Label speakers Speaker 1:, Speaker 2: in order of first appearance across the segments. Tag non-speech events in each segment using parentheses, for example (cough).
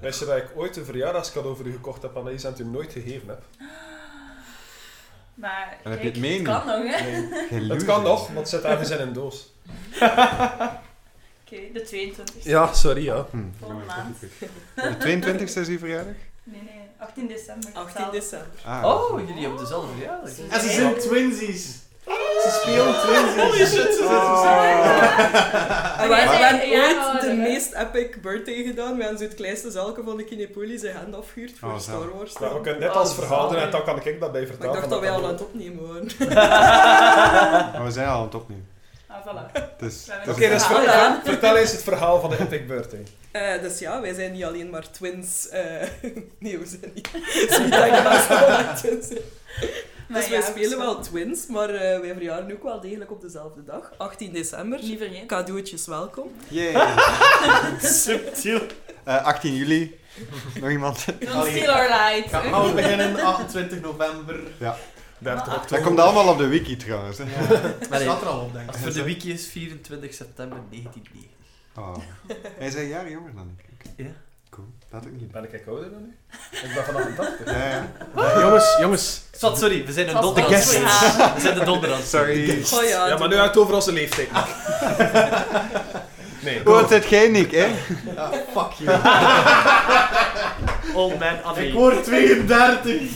Speaker 1: Wist je dat ik ooit een verjaardagscadeau voor u gekocht heb, Anaïs, en het u nooit gegeven heb?
Speaker 2: Maar
Speaker 3: En heb
Speaker 2: kijk,
Speaker 3: je het mee
Speaker 2: het
Speaker 3: nu?
Speaker 2: kan nog, hè? Oké, (laughs)
Speaker 1: Nee.
Speaker 3: Geluid.
Speaker 1: Het kan nog, want het zit ergens in een doos.
Speaker 2: de 22
Speaker 1: Ja, sorry, ja.
Speaker 3: Hm.
Speaker 2: Volgende maand.
Speaker 3: De 22 e is uw verjaardag?
Speaker 2: Nee, nee, 18 december.
Speaker 4: 18 december.
Speaker 3: Ah,
Speaker 5: Oh, jullie hebben dezelfde verjaardag.
Speaker 2: Ze
Speaker 4: En ze
Speaker 2: zijn-
Speaker 1: Oh.
Speaker 4: zijn twinsies. Ze spelen
Speaker 3: Oh,
Speaker 4: twinsies.
Speaker 5: Holy shit, ze
Speaker 2: Oh.
Speaker 5: Ah,
Speaker 4: We hebben
Speaker 2: Wij zijn een jaar
Speaker 4: ooit de
Speaker 2: ouder, hè?
Speaker 4: meest epic birthday gedaan. We hebben zo het kleinste zelke van de Kinepolis zijn hand afgehuurd voor
Speaker 3: Oh, zo.
Speaker 4: Star Wars.
Speaker 1: Nou, we kunnen dit
Speaker 5: Oh,
Speaker 1: als verhaal doen en
Speaker 5: zalig.
Speaker 1: dan kan ik dat bij
Speaker 4: Maar
Speaker 1: vertalen.
Speaker 4: ik dacht dat wij
Speaker 1: dat
Speaker 4: al aan
Speaker 1: kan
Speaker 4: het opnemen waren. (laughs)
Speaker 3: Maar we zijn al aan het opnemen.
Speaker 2: Ah, voilà.
Speaker 3: Het is,
Speaker 2: We hebben
Speaker 3: het
Speaker 1: Oké,
Speaker 3: is-
Speaker 2: een
Speaker 1: dus
Speaker 4: Ah,
Speaker 2: verhaal
Speaker 1: vertel,
Speaker 2: gedaan.
Speaker 1: (laughs) vertel eens het verhaal van de Epic Birthday.
Speaker 4: Eh, dus ja, wij zijn niet alleen maar twins. eh, (laughs) nee, we zijn niet. (laughs) Het is niet dat ik naast wel maar twins ben.
Speaker 2: Maar
Speaker 4: Dus
Speaker 2: ja,
Speaker 4: wij spelen
Speaker 2: zo.
Speaker 4: wel twins, maar eh, wij verjaren ook wel degelijk op dezelfde dag. 18 december.
Speaker 2: Niet vergeten.
Speaker 4: Cadeautjes welkom.
Speaker 3: Yay.
Speaker 5: Subtiel.
Speaker 3: Eh, 18 juli. Nog iemand?
Speaker 2: Don't steal our light.
Speaker 5: Gaan we beginnen 28 november.
Speaker 1: 30
Speaker 4: Ah.
Speaker 1: oktober.
Speaker 3: Dat komt allemaal op de wiki trouwens. Hè.
Speaker 5: Dat staat er al op, denk
Speaker 3: Als
Speaker 5: ik.
Speaker 3: het voor de
Speaker 5: wiki is 24 september 1990.
Speaker 3: Oh. Hij is een jaar jonger dan ik. Oké.
Speaker 5: Ja.
Speaker 3: Cool. Dat ook niet.
Speaker 1: Ben ik ouder dan nu? Ik ben vanaf een 80.
Speaker 3: Ja, ja.
Speaker 5: jongens, jongens. Zat, sorry, we zijn een
Speaker 2: Het was
Speaker 5: donder.
Speaker 2: ons verhaal.
Speaker 5: We zijn de donder aan het
Speaker 3: Sorry.
Speaker 4: Oh
Speaker 1: Ja,
Speaker 4: ja,
Speaker 1: maar nu
Speaker 4: doe Ah.
Speaker 1: had het over onze leeftijd. Nee,
Speaker 3: Hoe oud zit jij, Nick? Hè?
Speaker 5: Ah, fuck you. Old man
Speaker 6: Ik
Speaker 5: Annie.
Speaker 6: word 32.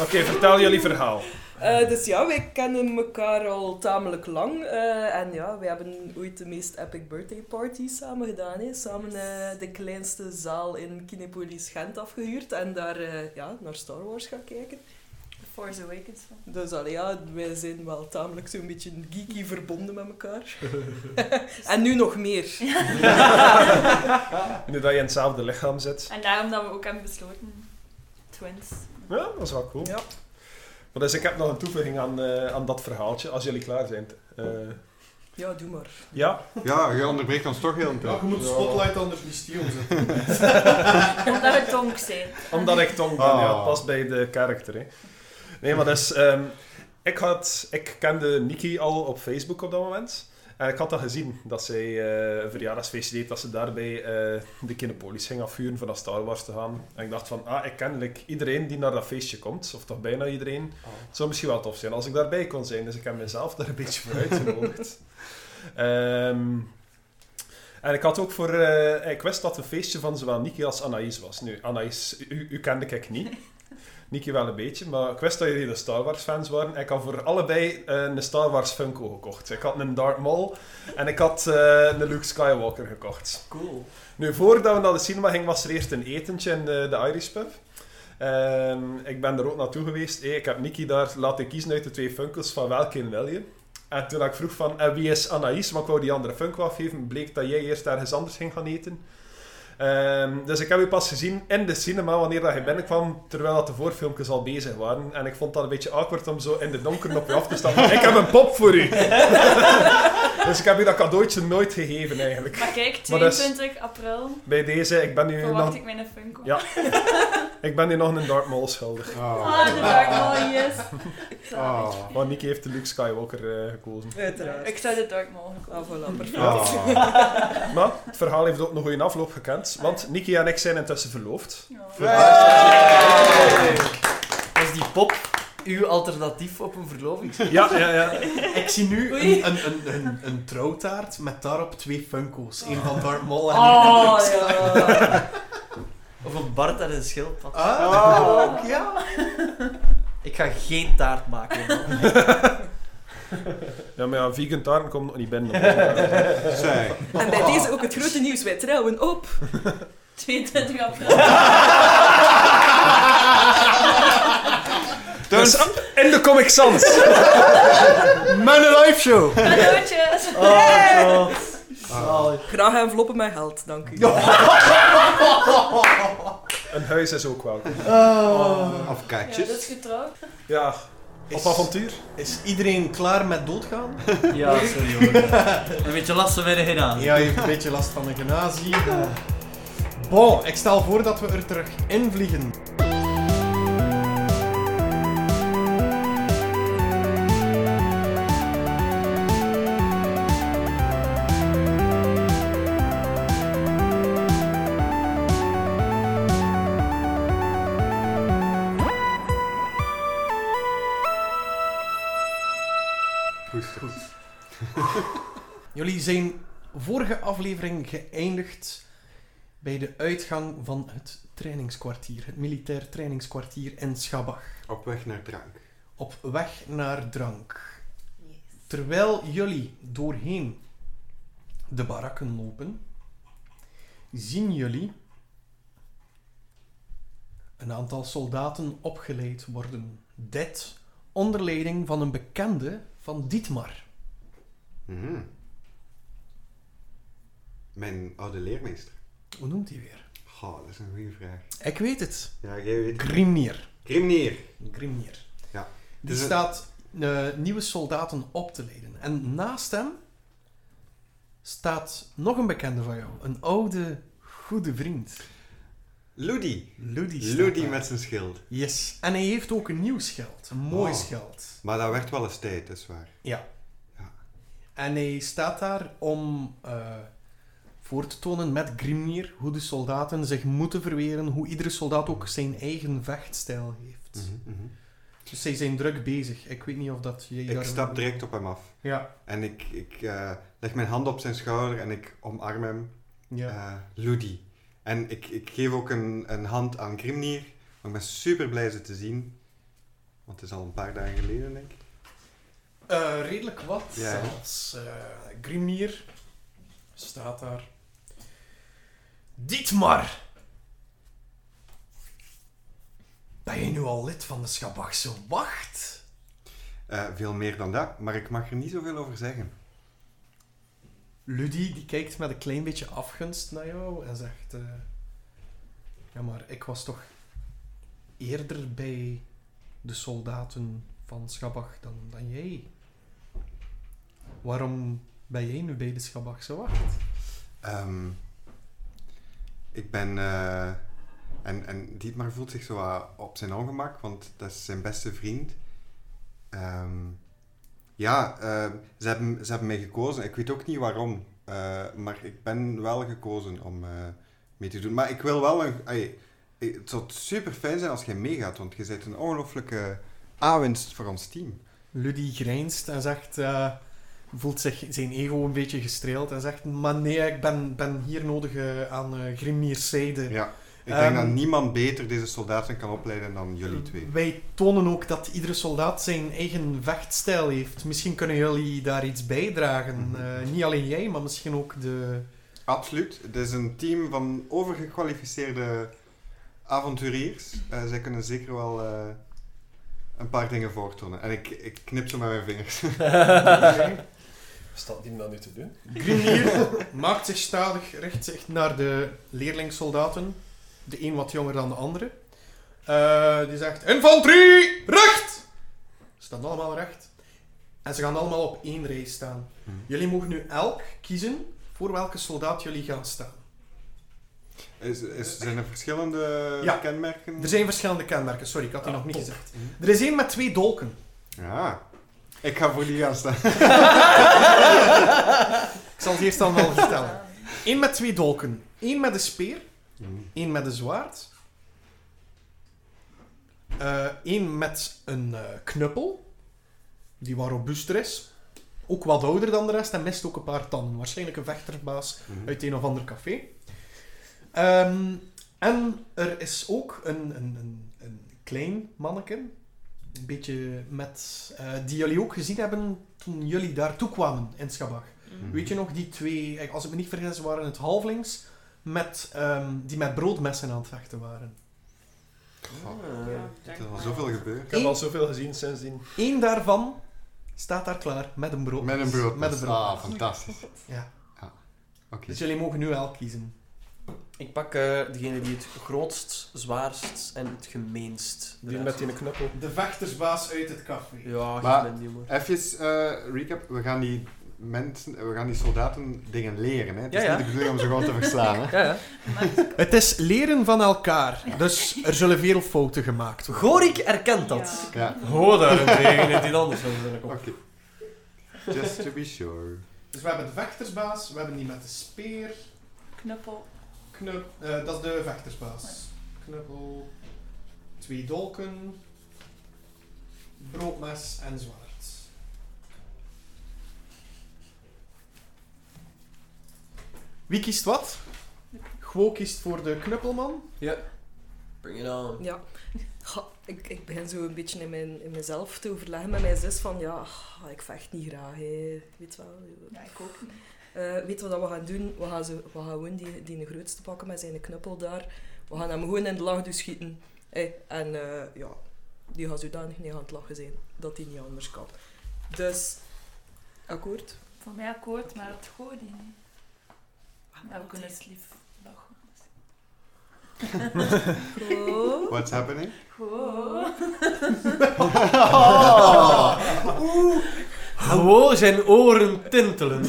Speaker 1: Oké, vertel jullie verhaal.
Speaker 4: Eh, dus ja, wij kennen elkaar al tamelijk lang. eh, en ja, wij hebben ooit de meest epic birthday party samen gedaan. Hè. Samen eh, de kleinste zaal in Kinepolis Gent afgehuurd. En daar eh, ja, naar Star Wars gaan kijken.
Speaker 2: The
Speaker 5: (laughs)
Speaker 2: Force Awakens.
Speaker 4: Dus allee, ja, wij zijn wel tamelijk zo'n beetje geeky verbonden met
Speaker 2: (laughs)
Speaker 4: elkaar. en nu nog meer.
Speaker 1: Nu dat je in hetzelfde lichaam zit.
Speaker 2: (laughs) En daarom dat we ook hebben besloten. Twins.
Speaker 1: Ja, dat is wel cool.
Speaker 4: Ja.
Speaker 1: Maar dus ik heb nog een toevoeging aan, eh, aan dat verhaaltje, als jullie klaar zijn. Eh,
Speaker 4: Ja, doe maar.
Speaker 1: ja?
Speaker 3: Ja, je onderbreekt ons toch heel een
Speaker 6: Ja,
Speaker 3: tijd.
Speaker 6: je moet spotlight anders niet stilzetten.
Speaker 2: Omdat we tonk zijn.
Speaker 1: Omdat ik tong ben,
Speaker 3: Ah.
Speaker 1: ja, het past bij de karakter. Hè. Nee, maar dus, ehm, ik, had, ik kende Nikki al op Facebook op dat moment. En ik had dat gezien, dat zij eh, een verjaardagsfeestje deed, dat ze daarbij eh, de Kinepolis ging afvuren voor naar Star Wars te gaan. En ik dacht van, ah, ik ken like, iedereen die naar dat feestje komt, of toch bijna iedereen. Het zou misschien wel tof zijn als ik daarbij kon zijn, dus ik heb mezelf daar een beetje voor uitgenodigd. Ehm, en ik had ook voor... eh, ik wist dat het een feestje van zowel Niki als Anaïs was. Nu, Anaïs, u, u kende ik niet. Niki wel een beetje, maar ik wist dat jullie de Star Wars fans waren. Ik had voor allebei eh, een Star Wars Funko gekocht. Ik had een Darth Maul en ik had eh, een Luke Skywalker gekocht.
Speaker 5: Cool.
Speaker 1: Nu, voordat we naar de cinema gingen, was er eerst een etentje in de, de Irish pub. Ehm, ik ben er ook naartoe geweest. Hey, ik heb Nicky daar laten kiezen uit de twee Funkels van welke wil je. En toen ik vroeg van, en wie is Anaïs, maar ik wou die andere Funko afgeven, bleek dat jij eerst ergens anders ging gaan eten. Ehm, dus ik heb u pas gezien in de cinema wanneer dat je binnenkwam, terwijl dat de voorfilmpjes al bezig waren. En ik vond dat een beetje awkward om zo in de donker op je af te stappen. ik heb een pop voor u! (laughs) dus ik heb u dat cadeautje nooit gegeven eigenlijk.
Speaker 2: Maar kijk,
Speaker 1: Maar dat is-
Speaker 2: 22 april
Speaker 1: Bij deze, ik ben nu
Speaker 2: verwacht
Speaker 1: nog,
Speaker 2: ik mijn Funko.
Speaker 1: Ja. ik ben nu nog een Darth Maul schuldig.
Speaker 2: Ah, de Dark Maul, yes. Zalig.
Speaker 5: Ah.
Speaker 3: Oh.
Speaker 1: Want Nicky heeft de Luke Skywalker eh, gekozen.
Speaker 4: Uiteraard.
Speaker 2: Ik zou de Dark Maul
Speaker 4: Ah,
Speaker 2: gekozen.
Speaker 4: voilà, perfect.
Speaker 3: Oh.
Speaker 1: Maar het verhaal heeft ook een goede afloop gekend, want Nicky en ik zijn intussen verloofd.
Speaker 2: Ja.
Speaker 5: Was die pop uw alternatief op een verloving?
Speaker 1: Ja, ja, ja.
Speaker 5: Ik zie nu
Speaker 4: Oei.
Speaker 5: een, een, een, een, een trouwtaart met daarop twee Funko's. Eén van Darth Maul en
Speaker 2: Oh, ja.
Speaker 5: Of een Bart en een schildpad.
Speaker 3: Oh,
Speaker 2: ook,
Speaker 5: ja. Ik ga geen taart maken. man.
Speaker 1: Ja, maar ja, vegan taarten komt nog niet
Speaker 5: (laughs)
Speaker 1: binnen. op onze-
Speaker 3: Zeg.
Speaker 4: En bij deze ook het grote nieuws. Wij trouwen op.
Speaker 2: 22
Speaker 3: (laughs)
Speaker 2: april.
Speaker 1: Dus in de Comic Sans!
Speaker 3: Man Alive Show!
Speaker 2: Cadeautjes.
Speaker 5: Oh, God.
Speaker 3: Ah.
Speaker 5: Zalig.
Speaker 4: Graag enveloppen met geld, dank u.
Speaker 1: Een huis is ook welkom.
Speaker 5: Ah.
Speaker 3: Of
Speaker 2: Ja, dat is
Speaker 3: kaartjes.
Speaker 2: getrouwd.
Speaker 1: Ja, op
Speaker 5: Is-
Speaker 1: avontuur.
Speaker 6: Is iedereen klaar met doodgaan?
Speaker 5: Ja, sorry (laughs) hoor. Een beetje lastig werden gedaan.
Speaker 6: Ja, je hebt een beetje last van de genazie. Bon, ik stel voor dat we er terug in vliegen. Jullie zijn vorige aflevering geëindigd bij de uitgang van het trainingskwartier, het militair trainingskwartier in Schabach.
Speaker 3: Op weg naar drank.
Speaker 6: Op weg naar drank. Terwijl jullie doorheen de barakken lopen, zien jullie een aantal soldaten opgeleid worden. Dit onder leiding van een bekende van Dietmar.
Speaker 3: Mhm. Mijn oude leermeester.
Speaker 6: Hoe noemt hij weer?
Speaker 3: Goh, dat is een goede vraag.
Speaker 6: Ik weet het.
Speaker 3: Ja, jij weet het.
Speaker 6: Grimnir.
Speaker 3: Grimneer.
Speaker 6: Grimnir.
Speaker 3: Ja.
Speaker 6: Die
Speaker 3: Dus het-
Speaker 6: staat eh, nieuwe soldaten op te leiden. En naast hem staat nog een bekende van jou. Een oude, goede vriend.
Speaker 3: Ludi.
Speaker 6: Ludi staat
Speaker 3: Ludi
Speaker 6: daar.
Speaker 3: met zijn schild.
Speaker 6: Yes. En hij heeft ook een nieuw schild. Een mooi
Speaker 3: Wow.
Speaker 6: schild.
Speaker 3: Maar dat werd wel eens tijd, dat is waar.
Speaker 6: En hij staat daar om eh, voor te tonen met Grimnir hoe de soldaten zich moeten verweren. Hoe iedere soldaat ook zijn eigen vechtstijl heeft.
Speaker 3: Mhm, mhm.
Speaker 6: Dus zij zijn druk bezig. Ik weet niet of dat jij
Speaker 3: Ik stap direct op hem af.
Speaker 6: Ja.
Speaker 3: En ik, ik eh, leg mijn hand op zijn schouder en ik omarm hem.
Speaker 6: ja.
Speaker 3: eh, Ludi. En ik, ik geef ook een, een hand aan Grimnir. Want ik ben super blij ze te zien. Want het is al een paar dagen geleden, denk ik.
Speaker 6: Eh, redelijk wat
Speaker 3: Ja.
Speaker 6: zelfs. Eh, Grimnir staat daar. Dietmar! Ben je nu al lid van de Schabachse Wacht?
Speaker 3: Eh, veel meer dan dat, maar ik mag er niet zoveel over zeggen.
Speaker 6: Ludie die kijkt met een klein beetje afgunst naar jou en zegt... eh, ja, maar ik was toch eerder bij de soldaten van Schabach dan, dan jij. Waarom ben jij nu bij de Schabachse Wacht?
Speaker 3: Ehm, ik ben. eh, en, en Dietmar voelt zich zo wat op zijn ongemak, want dat is zijn beste vriend. Ehm, ja, eh, ze, hebben, ze hebben mij gekozen. Ik weet ook niet waarom, eh, maar ik ben wel gekozen om eh, mee te doen. Maar ik wil wel een. ai, eh, het zou super fijn zijn als jij meegaat, want je bent een ongelooflijke aanwinst voor ons team.
Speaker 6: Ludie grijnst en zegt, eh, voelt zich zijn ego een beetje gestreeld en zegt, maar nee, ik ben, ben hier nodig eh, aan eh, Grimnir's zijde.
Speaker 3: Ja, ik denk
Speaker 6: Ehm,
Speaker 3: dat niemand beter deze soldaten kan opleiden dan jullie twee.
Speaker 6: Wij tonen ook dat iedere soldaat zijn eigen vechtstijl heeft. Misschien kunnen jullie daar iets bijdragen.
Speaker 3: Mhm.
Speaker 6: Eh, niet alleen jij, maar misschien ook de...
Speaker 3: Absoluut. Het is een team van overgekwalificeerde avonturiers. Eh, zij kunnen zeker wel eh, een paar dingen voortonen. En ik, ik knip ze met mijn vingers.
Speaker 1: (laughs) Wat staat die dan nu te doen?
Speaker 6: Grimier maakt zich stadig, richt zich naar de leerlingssoldaten. De een wat jonger dan de andere. Eh, die zegt, infanterie, recht! Ze staan allemaal recht. En ze gaan allemaal op één rij staan.
Speaker 3: Mhm.
Speaker 6: Jullie mogen nu elk kiezen voor welke soldaat jullie gaan staan.
Speaker 3: Is, is, zijn er verschillende
Speaker 6: Ja.
Speaker 3: kenmerken?
Speaker 6: Er zijn verschillende kenmerken, sorry, ik had die nog niet
Speaker 1: top.
Speaker 6: gezegd.
Speaker 3: Mhm.
Speaker 6: Er is één met twee dolken.
Speaker 3: Ja. Ik ga voor die gaan staan.
Speaker 6: Ik zal het eerst allemaal vertellen. Eén met twee dolken. Eén met een speer. Eén met een zwaard. Eh Eén met een eh, knuppel. Die wat robuuster is. Ook wat ouder dan de rest en mist ook een paar tanden. Waarschijnlijk een vechterbaas
Speaker 3: Mhm.
Speaker 6: uit een of ander café. Ehm, en er is ook een, een, een, een klein manneke. Een beetje met... eh, die jullie ook gezien hebben toen jullie daartoe kwamen in Schabach.
Speaker 3: Mhm.
Speaker 6: Weet je nog, die twee, als ik me niet vergis, waren het halflings met, ehm, die met broodmessen aan het vechten waren.
Speaker 3: Goh,
Speaker 2: Ja,
Speaker 3: er
Speaker 2: denk
Speaker 3: is al
Speaker 2: maar.
Speaker 3: zoveel gebeurd.
Speaker 1: Ik heb al zoveel gezien sindsdien.
Speaker 6: Eén daarvan staat daar klaar met een brood.
Speaker 3: Met een brood.
Speaker 6: Met een brood.
Speaker 3: Ah, fantastisch.
Speaker 6: Ja.
Speaker 3: Oké.
Speaker 6: Dus jullie mogen nu elk kiezen.
Speaker 5: Ik pak eh, degene die het grootst, zwaarst en het gemeenst.
Speaker 1: Die met die knuppel.
Speaker 6: De vechtersbaas uit het café.
Speaker 5: Ja,
Speaker 3: Maar-
Speaker 5: maar... bent die jongen.
Speaker 3: Even eh, recap. We gaan die mensen, we gaan die soldaten dingen leren. Hè? Het is
Speaker 5: Ja, ja.
Speaker 3: niet de bedoeling om ze gewoon te verslaan. Hè?
Speaker 5: Ja, ja.
Speaker 6: Het is leren van elkaar, dus er zullen veel fouten gemaakt worden.
Speaker 5: Gorik erkent dat.
Speaker 2: Ja.
Speaker 3: Ja.
Speaker 5: Hoor daarentegen het in anders van zijn kop.
Speaker 3: Oké. Just to be sure.
Speaker 6: Dus we hebben de vechtersbaas, we hebben die met de speer,
Speaker 2: Knuppel.
Speaker 6: knup, eh, dat is de vechtersbaas. Knuppel, twee dolken, broodmes en zwaard. Wie kiest wat? Gwo kiest voor de knuppelman.
Speaker 5: Bring it on.
Speaker 4: Ja. Goh, ik, ik begin zo een beetje in, mijn, in mezelf te overleggen met mijn zus van ja, ah, ik vecht niet graag. Hè. Weet wel.
Speaker 2: Ja, ik ook.
Speaker 4: Eh, weet wat dat we gaan doen? We gaan, ze, we gaan gewoon die, die grootste pakken met zijn knuppel daar. We gaan hem gewoon in de lach doen schieten. Eh, en eh, ja, die gaat zodanig niet aan het lachen zijn dat hij niet anders kan. Dus, akkoord.
Speaker 2: Voor mij akkoord, maar het gooit die niet. Maar we kunnen het
Speaker 3: (laughs)
Speaker 2: lief lachen.
Speaker 4: Goed.
Speaker 3: What's happening?
Speaker 2: Goh.
Speaker 5: Oh.
Speaker 1: (laughs)
Speaker 5: Gewoon zijn oren tintelen.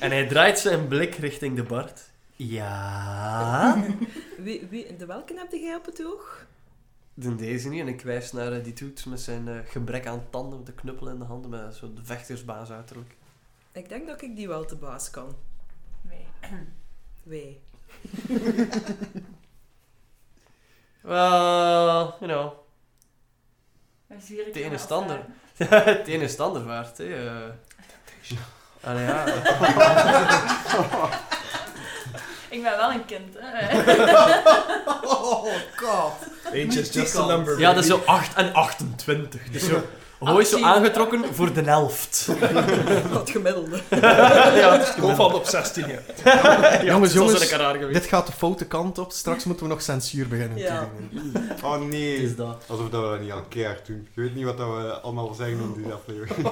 Speaker 5: En hij draait zijn blik richting de Bart. Ja.
Speaker 4: Wie, wie, de welke heb jij op het oog?
Speaker 5: Doen deze niet. En ik wijs naar eh, die toet met zijn eh, gebrek aan tanden, met de knuppel in de handen, met zo'n vechtersbaas uiterlijk.
Speaker 4: Ik denk dat ik die wel te baas kan.
Speaker 2: Nee.
Speaker 7: (laughs)
Speaker 4: Wij.
Speaker 5: Well, you know.
Speaker 2: Dan zwier ik
Speaker 5: De ene
Speaker 2: eraf
Speaker 5: stander.
Speaker 2: aan.
Speaker 5: (laughs) het ene is standaard, hè. eh. Allee, ja.
Speaker 2: (laughs) Ik ben wel een kind, hè.
Speaker 6: (laughs) Oh god.
Speaker 1: Age is just a
Speaker 6: kant.
Speaker 1: number.
Speaker 5: ja, dat is
Speaker 1: baby.
Speaker 5: zo (laughs) 8 en 28. Dus (laughs) zo, hoe is zo aangetrokken voor de (laughs) helft?
Speaker 4: Wat gemiddelde.
Speaker 5: ja, het is
Speaker 1: Kom van op 16, ja.
Speaker 6: jongens,
Speaker 5: zo
Speaker 6: jongens.
Speaker 5: zijn ik er raar geweest.
Speaker 6: Dit gaat de foute kant op. Straks moeten we nog censuur beginnen
Speaker 4: Ja.
Speaker 6: te doen.
Speaker 3: Oh nee.
Speaker 5: Het is dat.
Speaker 3: Alsof dat we dat niet al een keer doen. Je weet niet wat dat we allemaal zeggen in
Speaker 5: (laughs)
Speaker 3: die aflevering.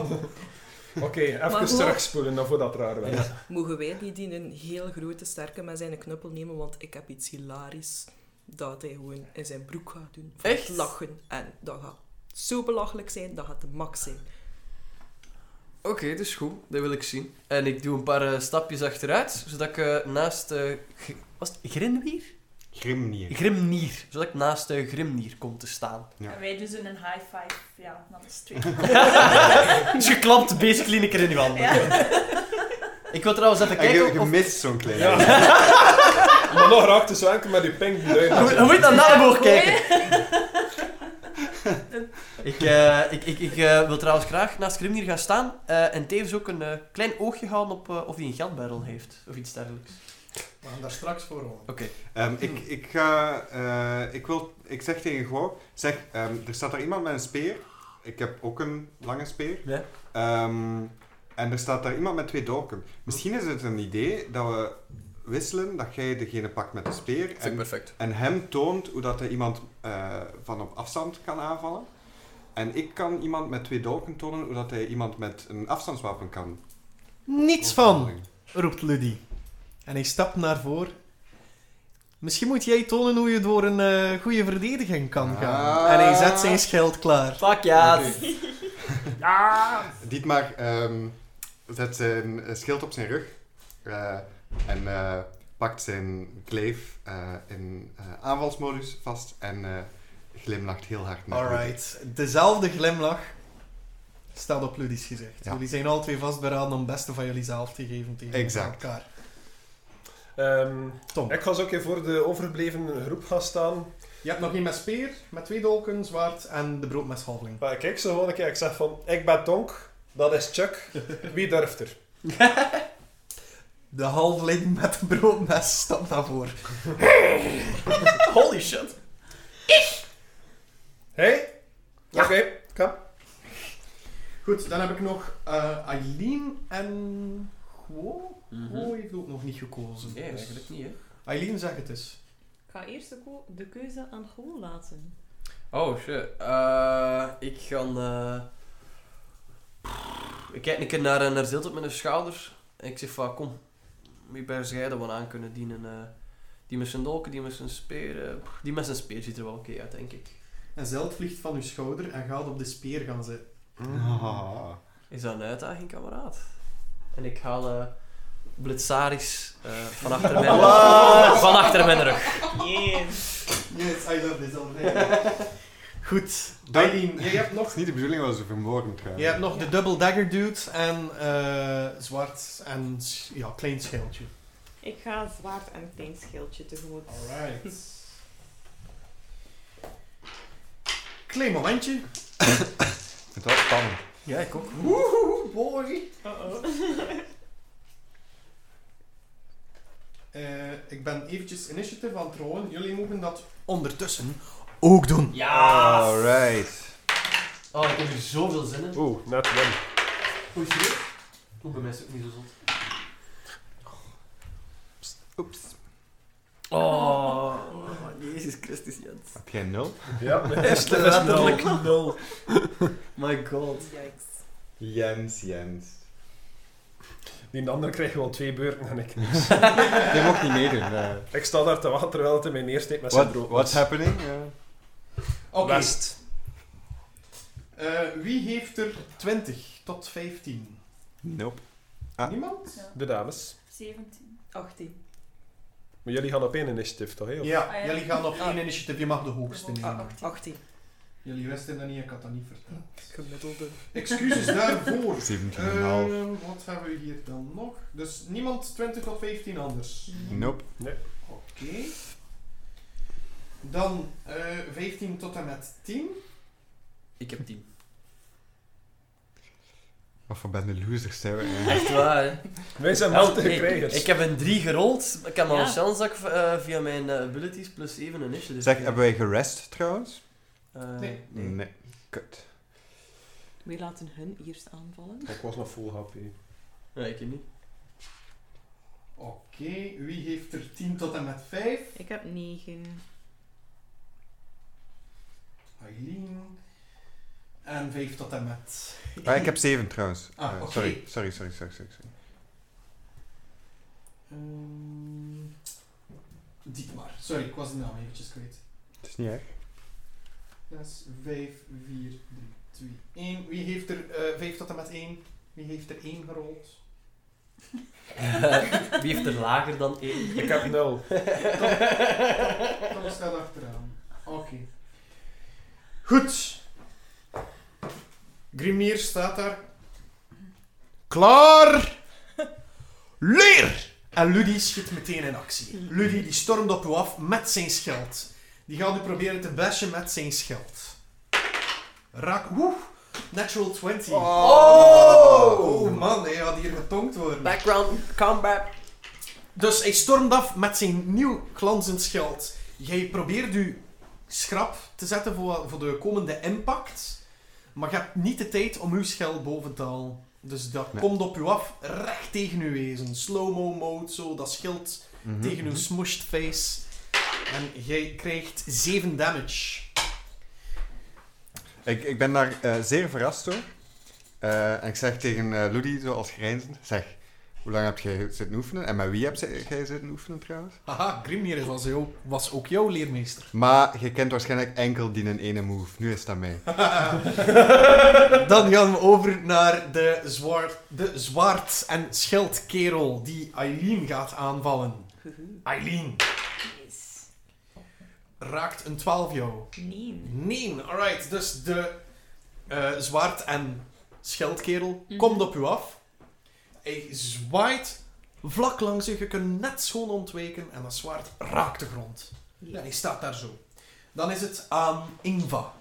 Speaker 1: Oké, even
Speaker 4: hoe-
Speaker 1: terugspoelen dan voordat het raar werd.
Speaker 4: Mogen wij die die een heel grote sterke met zijn knuppel nemen? Want ik heb iets hilarisch dat hij gewoon in zijn broek gaat doen. Van het
Speaker 5: Echt?
Speaker 4: lachen. En dat gaat zo belachelijk zijn, dat gaat de max zijn.
Speaker 5: Oké, dat is goed. Dat wil ik zien. En ik doe een paar eh, stapjes achteruit, zodat ik eh, naast... eh, Gr- was het Grinwier?
Speaker 3: Grimnier.
Speaker 5: Grimnier. Zodat ik naast eh, Grimnier kom te staan.
Speaker 3: Ja.
Speaker 2: En wij doen zo'n high five, ja, naar de street.
Speaker 5: (laughs) Dus je klapt basically een keer in je handen. Ik wil trouwens even
Speaker 3: En je,
Speaker 5: kijken
Speaker 3: je
Speaker 5: of...
Speaker 3: mist zo'n klein.
Speaker 1: Ja. maar nog raakte zo enkel met die pink duim.
Speaker 5: Hoe hoe moet je dan naar boven
Speaker 2: Goeie.
Speaker 5: kijken?
Speaker 2: (laughs)
Speaker 5: Ik, eh, ik, ik, ik eh, wil trouwens graag naast Grimnir gaan staan eh, en tevens ook een eh, klein oogje houden op eh, of hij een geldbarrel heeft of iets dergelijks.
Speaker 6: We gaan daar straks voor horen.
Speaker 3: Ehm, ik, ik, ga, eh, ik, wil, ik zeg tegen Go, zeg, ehm, er staat daar iemand met een speer. Ik heb ook een lange speer.
Speaker 5: Ja.
Speaker 3: Ehm, en er staat daar iemand met twee dorken. Misschien is het een idee dat we wisselen, dat jij degene pakt met de speer en,
Speaker 5: perfect.
Speaker 3: en hem toont hoe dat hij iemand eh, van op afstand kan aanvallen. En ik kan iemand met twee dorken tonen hoe dat hij iemand met een afstandswapen kan.
Speaker 6: Niets van, roept Ludie. En hij stapt naar voren. Misschien moet jij tonen hoe je door een eh, goede verdediging kan gaan.
Speaker 3: Ah.
Speaker 6: En hij zet zijn schild klaar.
Speaker 5: Fuck ja.
Speaker 3: Dietmar ehm, zet zijn eh, schild op zijn rug eh, en eh, pakt zijn kleef eh, in eh, aanvalsmodus vast en eh, glimlacht heel hard naar Rudy.
Speaker 6: Alright. Dezelfde glimlach staat op Ludie's gezicht.
Speaker 3: Ja.
Speaker 6: Jullie zijn alle twee vastberaden om het beste van jullie zelf te geven tegen
Speaker 3: Exact.
Speaker 6: elkaar.
Speaker 1: Ehm,
Speaker 6: Tom.
Speaker 1: ik ga zo ook even voor de overgebleven groep gaan staan.
Speaker 6: Je hebt nog één met speer, met twee dolken, zwaard en de broodmeshalveling.
Speaker 1: Maar ik kijk zo gewoon een keer. Ik zeg van, ik ben Tonk, dat is Chuck. Wie durft er?
Speaker 6: De halveling met de broodmes stapt naar voren.
Speaker 5: (laughs) Holy shit.
Speaker 1: Hey? Oké, kom.
Speaker 6: Goed, dan heb ik nog eh, Aileen en Guo. Guo heeft ook nog niet gekozen.
Speaker 5: Mhm. Nee,
Speaker 6: dus-
Speaker 5: eigenlijk niet, hè.
Speaker 6: Aileen, zeg het eens.
Speaker 7: Ik ga eerst de, ko- de keuze aan Goal laten.
Speaker 5: Oh, shit. Eh, ik ga... eh, Ik kijk een keer naar, eh, naar Zilt op mijn schouders. En ik zeg van, kom. Wie ben jij dat we aan kunnen dienen? eh? die met zijn dolken, die met zijn speer... eh, pff, die met zijn speer ziet er wel oké uit, denk ik.
Speaker 6: En Zeld vliegt van uw schouder en gaat op de speer gaan zitten.
Speaker 3: Ah.
Speaker 5: Is dat een uitdaging, kameraad? En ik haal eh Blitzaris eh, van, achter (laughs) mijn, van achter mijn rug.
Speaker 6: Yes, I love this already. (laughs) Goed.
Speaker 3: Dank.
Speaker 6: Aileen, jij hebt
Speaker 3: Het
Speaker 6: nog,
Speaker 3: is niet de bedoeling dat we ze vermoorden gaan.
Speaker 6: jij hebt nog de double dagger dude en eh, zwart en s- ja, klein schildje.
Speaker 7: Ik ga zwaard en klein schildje tegemoet.
Speaker 3: (laughs)
Speaker 6: Alright. Klein momentje.
Speaker 3: Het was spannend.
Speaker 5: Ja, ik ook.
Speaker 6: Woehoe, boy.
Speaker 7: Uh-oh.
Speaker 6: (laughs) Eh, ik ben eventjes initiative aan het rollen. Jullie mogen dat ondertussen ook doen.
Speaker 5: Ja!
Speaker 3: Alright.
Speaker 5: Oh, ik heb er zoveel zin in.
Speaker 1: Oeh, net one.
Speaker 5: Hoe is het? Hoe bij mij is het ook niet zo zot.
Speaker 3: Oeps.
Speaker 5: Oh, Jezus Christus, Jens.
Speaker 3: Heb jij nul?
Speaker 5: (laughs)
Speaker 1: Ja,
Speaker 5: Echt,
Speaker 1: dat is
Speaker 5: letterlijk
Speaker 1: nul.
Speaker 5: nul. My god.
Speaker 4: Yikes.
Speaker 3: Jens, Jens.
Speaker 1: Die andere krijgt gewoon twee beurten en ik
Speaker 3: (laughs)
Speaker 1: niks.
Speaker 3: Je mocht niet meedoen. eh. nee.
Speaker 1: ik sta daar te wachten terwijl het in mijn neersteekt met zijn
Speaker 3: What,
Speaker 1: brood.
Speaker 3: what's happening? Ja.
Speaker 6: Oké,
Speaker 1: West.
Speaker 6: eh, wie heeft er 20 tot 15?
Speaker 3: Nope. Ah.
Speaker 6: Niemand?
Speaker 1: De dames.
Speaker 2: 17.
Speaker 4: 18.
Speaker 1: Maar jullie gaan op één initiatief, toch? Hè? Of-
Speaker 6: Ja,
Speaker 2: Ah, ja.
Speaker 6: jullie gaan op
Speaker 4: Ah.
Speaker 6: één initiatief. Je mag de hoogste
Speaker 4: Ah,
Speaker 6: nemen.
Speaker 4: 18. 18.
Speaker 6: Jullie wisten dat niet, ik had dat niet verteld.
Speaker 4: Gemiddelde.
Speaker 5: (laughs)
Speaker 6: Excuses daarvoor.
Speaker 3: 17,5.
Speaker 6: Ehm, wat hebben we hier dan nog? Dus niemand 20 tot 15 anders.
Speaker 3: Nope.
Speaker 6: Oké. Dan eh, 15 tot en met 10.
Speaker 5: Ik heb 10.
Speaker 3: Wat voor ben de losers zijn we? hè?
Speaker 5: Echt waar, hè?
Speaker 1: Wij zijn
Speaker 5: Help,
Speaker 1: machtige
Speaker 5: nee,
Speaker 1: krijgers.
Speaker 5: Ik heb een 3 gerold. maar Ik heb al een
Speaker 7: Ja.
Speaker 5: chance dat ik eh, via mijn eh, abilities plus 7 initiative.
Speaker 3: Zeg, hebben wij gerest trouwens?
Speaker 5: Eh,
Speaker 6: Nee.
Speaker 5: nee.
Speaker 3: Kut.
Speaker 7: We laten hun eerst aanvallen.
Speaker 1: Ik was nog full
Speaker 5: (laughs)
Speaker 1: happy.
Speaker 5: Nee, ik heb niet.
Speaker 6: Oké, wie heeft er 10 tot en met 5?
Speaker 7: Ik heb 9.
Speaker 6: Eileen. En 5 tot en met.
Speaker 3: Ah, ik heb 7 trouwens.
Speaker 6: Ah,
Speaker 3: Eh,
Speaker 6: oké.
Speaker 3: sorry, sorry, sorry, sorry, sorry. sorry.
Speaker 6: Ehm, Dietmar. Sorry, ik was de naam eventjes kwijt.
Speaker 3: Het is niet erg.
Speaker 6: Dat is 5, 4, 3, 2, 1. Wie heeft er eh 5 tot en met 1? Wie heeft er 1 gerold?
Speaker 5: Wie heeft er lager dan 1?
Speaker 1: Ik heb
Speaker 5: (laughs)
Speaker 1: nul.
Speaker 6: Kom snel achteraan. Oké. Goed. Grimnir staat daar. Klaar! Leer! En Ludie schiet meteen in actie. Ludie die stormt op u af met zijn schild. Die gaat u proberen te bashen met zijn schild. Raak, woe! Natural 20.
Speaker 1: Oh.
Speaker 5: Oh!
Speaker 6: Oh man, hij had hier getonkt worden.
Speaker 5: Background combat.
Speaker 6: Dus hij stormt af met zijn nieuw glanzend schild. Jij probeert je schrap te zetten voor, voor de komende impact. Maar je hebt niet de tijd om uw schild boven te halen. Dus dat
Speaker 3: Nee.
Speaker 6: komt op u af, recht tegen uw wezen. Slow-mo mode, zo, dat schild
Speaker 3: Mhm.
Speaker 6: tegen uw smushed face. En jij krijgt 7 damage.
Speaker 3: Ik, ik ben daar eh, zeer verrast door. Eh, en ik zeg tegen eh Ludie, zoals grijnzend, zeg, hoe lang heb jij zitten oefenen? En met wie heb ze- jij zitten oefenen trouwens?
Speaker 6: Haha, Grimnir was, jou, was ook jouw
Speaker 3: (laughs)
Speaker 6: leermeester.
Speaker 3: Maar je kent waarschijnlijk enkel die in ene move. Nu is dat mij.
Speaker 6: Dan gaan we over naar de, zwaard, de zwaard- en schildkerel die Eileen gaat aanvallen. Eileen
Speaker 2: Yes.
Speaker 6: raakt een 12 jou.
Speaker 5: (laughs)
Speaker 7: Nee.
Speaker 6: Nee, alright. Dus de eh, zwaard- en schildkerel komt op u af. Hij zwaait vlak langs u. Je kunt net schoon ontwijken en dat zwaard raakt de grond. En hij staat daar zo. Dan is het aan Ingva.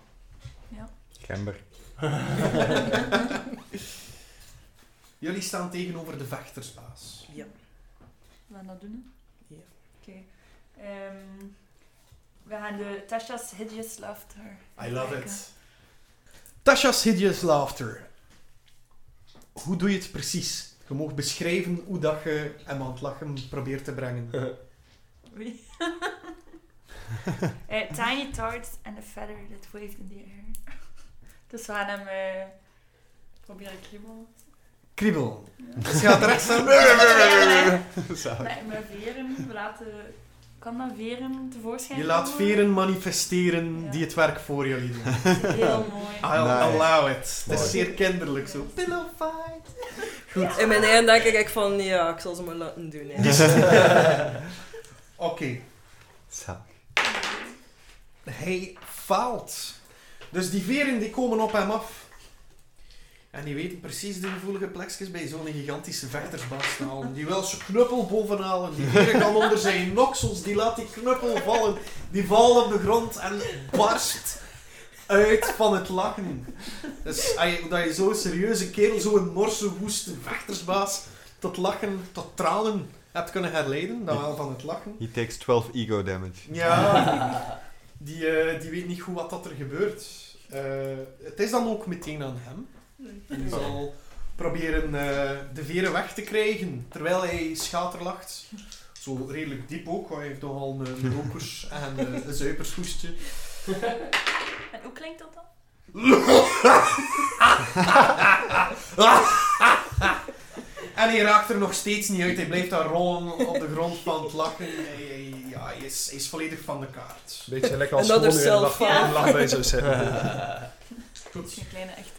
Speaker 3: Gember.
Speaker 6: Jullie staan tegenover de vechtersbaas.
Speaker 2: We gaan dat doen. hè?
Speaker 4: Ja.
Speaker 2: Oké. Ehm, we gaan de Tasha's Hideous Laughter.
Speaker 6: I love
Speaker 2: bekijken.
Speaker 6: it. Tasha's Hideous Laughter. Hoe doe je het precies? Je mag beschrijven hoe dat je hem aan het lachen probeert te brengen.
Speaker 2: Oei. (laughs) Eh, tiny tarts and a feather that waved in the air. (laughs) dus we gaan hem eh, proberen kriebelen.
Speaker 6: Kriebel. Dus je gaat recht staan.
Speaker 2: Nee, maar veren, we laten... Kan dat veren tevoorschijn
Speaker 6: Je laat
Speaker 2: komen?
Speaker 6: veren manifesteren die het werk voor jullie doen.
Speaker 2: Heel mooi.
Speaker 5: Ah,
Speaker 6: I'll
Speaker 3: Nice.
Speaker 6: allow it. Het
Speaker 1: Mooi.
Speaker 6: is zeer kinderlijk zo. Pillow fight.
Speaker 4: In mijn eind denk ik echt van, ja, ik zal ze maar laten doen. Hè.
Speaker 6: Oké.
Speaker 3: Zalig.
Speaker 6: Hij faalt. Dus die veren die komen op hem af. En die weten precies de gevoelige plekjes bij zo'n gigantische vechtersbaas te halen. Die wil zijn knuppel bovenhalen. Die veren gaan onder zijn noksels. Die laat die knuppel vallen. Die valt op de grond en barst uit van het lachen. Dus ai, hoe dat je zo'n serieuze kerel, zo'n morse woeste vechtersbaas, tot lachen, tot tranen hebt kunnen herleiden, dan wel van het lachen.
Speaker 3: He takes 12 ego damage.
Speaker 6: Ja, die, eh, die weet niet goed wat dat er gebeurt. Eh, het is dan ook meteen aan hem. En die zal proberen eh, de veren weg te krijgen, terwijl hij schaterlacht. Zo redelijk diep ook, want hij heeft nogal een een rokers- en eh, een zuipershoestje.
Speaker 2: En hoe klinkt dat dan?
Speaker 6: En hij raakt er nog steeds niet uit. Hij blijft daar rollen op de grond van het lachen. Hij, hij- ja, hij, is, hij is volledig van de kaart.
Speaker 1: Beetje lekker als
Speaker 4: Another
Speaker 1: gewoon weer een lach,
Speaker 4: selfie.
Speaker 1: een lach bij zou zitten.
Speaker 2: Het is een kleine echt.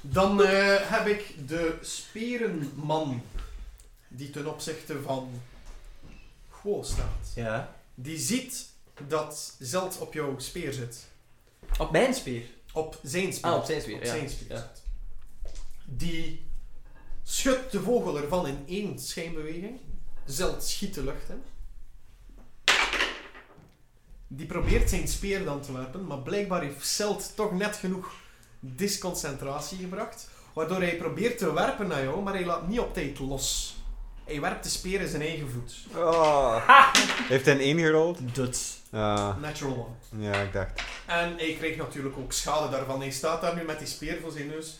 Speaker 6: Dan eh, heb ik de sperenman. Die ten opzichte van Guo staat.
Speaker 5: Ja.
Speaker 6: Die ziet dat Zeld op jouw speer zit.
Speaker 5: Op mijn speer.
Speaker 6: Op zijn speer.
Speaker 5: Ah, op zijn speer.
Speaker 6: Op
Speaker 5: ja.
Speaker 6: zijn speer
Speaker 5: Ja.
Speaker 6: zit. Die schudt de vogel ervan in één schijnbeweging. Zeld schiet de lucht in. Die probeert zijn speer dan te werpen, maar blijkbaar heeft Zeld toch net genoeg disconcentratie gebracht. Waardoor hij probeert te werpen naar jou, maar hij laat niet op tijd los. Hij werpt de speer in zijn eigen voet.
Speaker 3: Oh. (laughs) Heeft hij een 1 gerold?
Speaker 5: Duts.
Speaker 3: Ah,
Speaker 6: Natural one.
Speaker 3: ja, ik dacht.
Speaker 6: En hij kreeg natuurlijk ook schade daarvan. Hij staat daar nu met die speer voor zijn neus.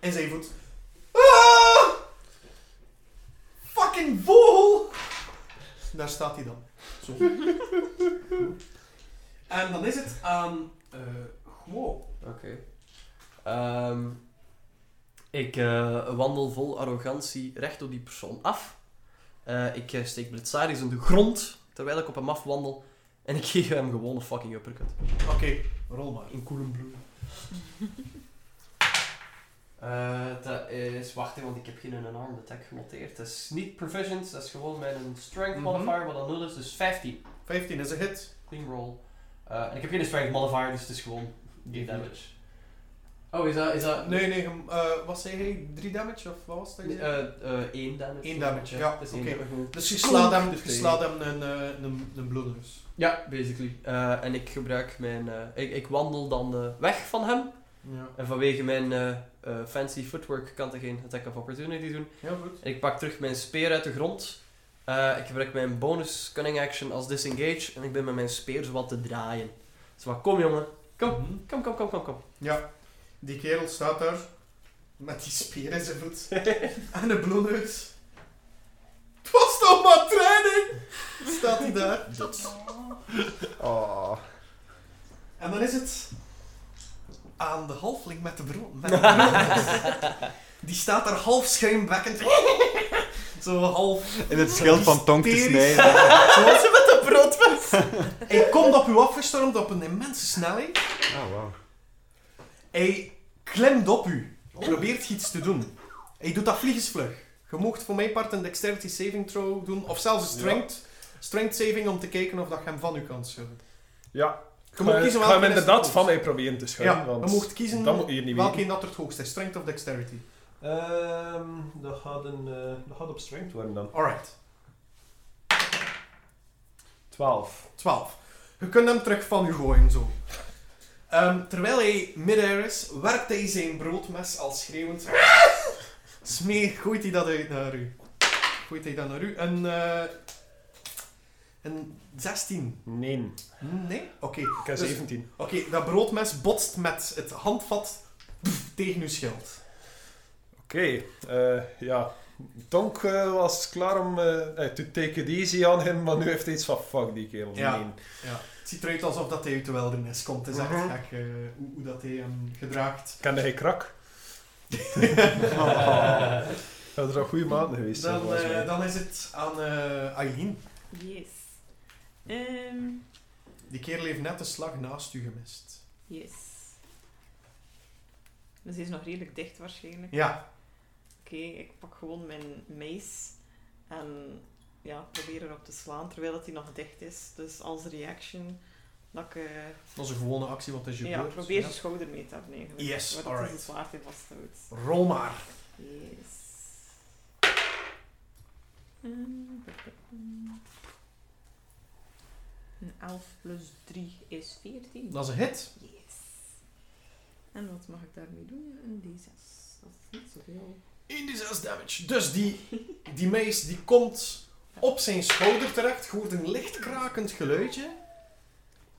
Speaker 6: En zijn voet. Ah! Fucking vogel! Daar staat hij dan. Zo. en dan is het aan... eh Guo.
Speaker 5: Ehm, ik eh, wandel vol arrogantie recht door die persoon af. Eh, ik eh, steek Blitzaris in de grond terwijl ik op hem afwandel. En ik geef hem gewoon een fucking uppercut.
Speaker 6: Oké, rol maar.
Speaker 5: In koelen bloed. Eh, dat is, wacht even, want ik heb geen unarmed attack genoteerd. Dat is niet proficient, dat is gewoon mijn strength
Speaker 6: Mhm.
Speaker 5: modifier, wat dan 0 is, dus 15.
Speaker 6: 15 is een hit.
Speaker 5: Clean roll. Eh, en ik heb geen strength modifier, dus het is gewoon 3 damage. Oh, is dat, is dat
Speaker 6: Nee, nee. gem- eh, wat zei hij? 3 damage of wat was dat?
Speaker 5: Nee, eh, eh, één damage.
Speaker 6: Eén damage, ja,
Speaker 5: Dat is één
Speaker 6: oké.
Speaker 5: damage. Gewoon-
Speaker 6: dus je slaat hem,
Speaker 5: Oeh,
Speaker 6: je slaat hem een, eh, een, een bloedneus.
Speaker 5: Ja, basically. Eh, en ik gebruik mijn... eh, ik, ik wandel dan eh, weg van hem.
Speaker 6: Ja.
Speaker 5: En vanwege mijn eh, eh, fancy footwork kan hij geen attack of opportunity doen.
Speaker 6: Heel goed.
Speaker 5: En ik pak terug mijn speer uit de grond. Eh, ik gebruik mijn bonus cunning action als disengage. En ik ben met mijn speer zo wat te draaien. Zo wat, kom jongen. Kom.
Speaker 6: Mhm.
Speaker 5: Kom, kom, kom, kom, kom.
Speaker 6: Ja, die kerel staat daar met die speer in zijn voet en een bloedneus. Het was toch maar training! Staat hij daar.
Speaker 2: Oh.
Speaker 3: Oh.
Speaker 6: En dan is het aan de halfling met de bro- met de broodneus. die staat daar half schuimbekkend. (laughs) Zo half...
Speaker 3: In het schild van Tonk te
Speaker 6: Hysterisch. (laughs)
Speaker 3: snijden.
Speaker 6: Zo met de broodmes. Hij komt op u afgestormd op een immense snelheid.
Speaker 1: Ah,
Speaker 3: Oh, wow.
Speaker 6: Hij klemt op u. Probeert iets te doen. Hij doet dat vliegensvlug. Je moogt voor mijn part een dexterity saving throw doen. Of zelfs een strength, strength saving om te kijken of dat je hem van u kan schudden.
Speaker 1: Ja,
Speaker 6: Je mag
Speaker 1: ik
Speaker 6: kiezen
Speaker 1: ga hem
Speaker 6: welke is het
Speaker 1: inderdaad
Speaker 6: hoogst.
Speaker 1: van mij proberen te schuiven.
Speaker 6: Ja,
Speaker 1: want
Speaker 6: je mocht kiezen
Speaker 1: dat moet je hier niet
Speaker 6: welke
Speaker 1: weten.
Speaker 6: dat er het hoogst is. Strength of dexterity.
Speaker 1: Ehm, dat, gaat een, eh, dat gaat op strength worden dan.
Speaker 6: Alright.
Speaker 1: 12.
Speaker 6: 12. Je kunt hem terug van u gooien zo. Ehm, terwijl hij midair is, werpt hij zijn broodmes al schreeuwend. Smee, gooit hij dat uit naar u. Gooit hij dat naar u. Een, eh, een 16.
Speaker 1: Nee,
Speaker 6: Nee? Oké.
Speaker 1: ik heb
Speaker 6: Dus-
Speaker 1: 17.
Speaker 6: Oké, dat broodmes botst met het handvat pff, tegen uw schild.
Speaker 1: Oké, eh, ja. Tonk eh, was klaar om eh eh, to take it easy aan hem, maar nu heeft hij iets van fuck die kerel.
Speaker 6: Ja.
Speaker 1: Nee.
Speaker 6: Het ziet eruit alsof dat hij uit de wildernis komt. Het is echt
Speaker 1: Mhm.
Speaker 6: gek eh, hoe, hoe dat hij hem gedraagt.
Speaker 1: Kende hij
Speaker 6: (laughs)
Speaker 1: krak? (laughs) Dat is een goede maand geweest. zijn,
Speaker 6: Dan,
Speaker 1: volgens mij.
Speaker 6: eh, dan is het aan eh Aileen.
Speaker 7: Yes. Ehm,
Speaker 6: Die kerel heeft net de slag naast u gemist.
Speaker 7: yes. Dus hij is nog redelijk dicht waarschijnlijk.
Speaker 6: Ja,
Speaker 7: Oké, ik pak gewoon mijn mace en ja, probeer erop te slaan terwijl dat hij nog dicht is. Dus als reaction dat ik eh,
Speaker 6: dat is een gewone actie, want dat is je
Speaker 7: ja,
Speaker 6: beurt.
Speaker 7: probeer
Speaker 6: Ja.
Speaker 7: zijn schouder mee te hebben eigenlijk.
Speaker 6: Yes,
Speaker 7: waar dat
Speaker 6: alright.
Speaker 7: hij zijn zwaard in vasthoudt.
Speaker 6: Rol maar.
Speaker 7: Yes. Een 11 plus 3 is 14.
Speaker 6: Dat is een hit.
Speaker 7: Yes. En wat mag ik daarmee doen? Een D6. Dat is niet zoveel.
Speaker 6: In die 6 damage. Dus die, die meis die komt op zijn schouder terecht. Je hoort een licht krakend geluidje.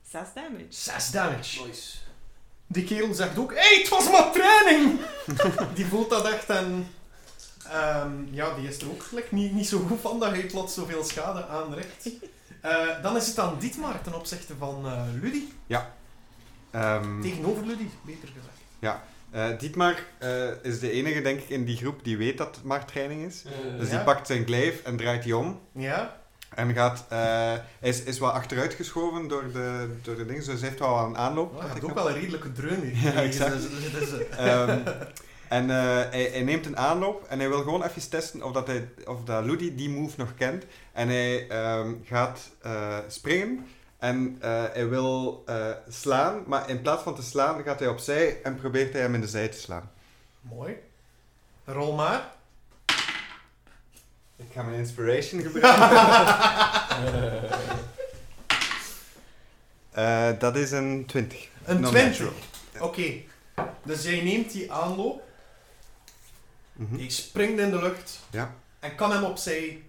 Speaker 7: Zes damage.
Speaker 6: 6 damage.
Speaker 5: Nice.
Speaker 6: Die kerel zegt ook, hey, het was maar training! (laughs) die voelt dat echt en... ehm, ja, die is er ook gelijk niet, niet zo goed van dat hij plots zoveel schade aanricht. Eh, dan is het aan Dietmar ten opzichte van eh Ludy.
Speaker 3: Ehm,
Speaker 6: Tegenover Ludy, beter gezegd.
Speaker 3: eh, Dietmar eh, is de enige, denk ik, in die groep die weet dat het maar training is. Dus
Speaker 6: Ja.
Speaker 3: die pakt zijn glijf en draait die om.
Speaker 6: Ja?
Speaker 3: En gaat, eh, hij is, is wat achteruitgeschoven door de, door de dingen, dus hij heeft wel wat een (laughs) aanloop.
Speaker 6: Oh,
Speaker 3: had
Speaker 6: hij
Speaker 3: ik
Speaker 6: had ook
Speaker 3: nog.
Speaker 6: wel een redelijke dreun hier.
Speaker 3: (laughs) Ja,
Speaker 6: Dus,
Speaker 3: exact.
Speaker 6: eh, dus, eh,
Speaker 3: Ehm, en eh, hij, hij neemt een aanloop en hij wil gewoon even testen of, dat hij, of dat Ludi die move nog kent. En hij ehm, gaat eh, springen en eh, hij wil eh, slaan, maar in plaats van te slaan gaat hij opzij en probeert hij hem in de zij te slaan.
Speaker 6: Mooi. Rol maar.
Speaker 3: Ik ga mijn inspiration gebruiken. Eh, dat is een 20.
Speaker 6: Een
Speaker 3: Non-natural.
Speaker 6: 20. Oké. Dus jij neemt die aanloop.
Speaker 3: Mhm.
Speaker 6: Die springt in de lucht.
Speaker 3: Ja.
Speaker 6: En kan hem opzij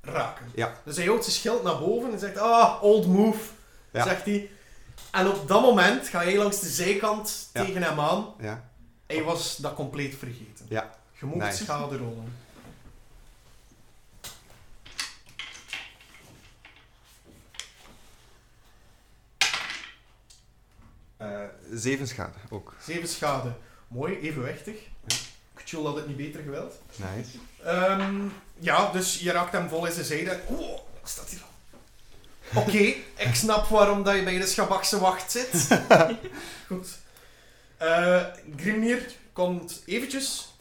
Speaker 6: raken.
Speaker 3: Ja.
Speaker 6: Dus hij houdt zijn schild naar boven en zegt, ah, old move.
Speaker 3: Ja.
Speaker 6: Zegt hij. En op dat moment ga jij langs de zijkant
Speaker 3: Ja.
Speaker 6: tegen hem aan.
Speaker 3: Ja.
Speaker 6: Hij was dat compleet vergeten.
Speaker 3: Ja.
Speaker 6: Je moet
Speaker 3: Nice.
Speaker 6: schade rollen.
Speaker 3: Eh, zeven schade ook.
Speaker 6: Zeven schade. Mooi, evenwichtig.
Speaker 3: Ja.
Speaker 6: Ik tjoel dat het niet beter geweld.
Speaker 3: Nice.
Speaker 6: Ehm, ja, dus je raakt hem vol in zijn zijde. Oeh, wat staat hier al? Oké, ik snap waarom dat je bij de schabakse wacht zit. Goed. Eh Grimnir komt eventjes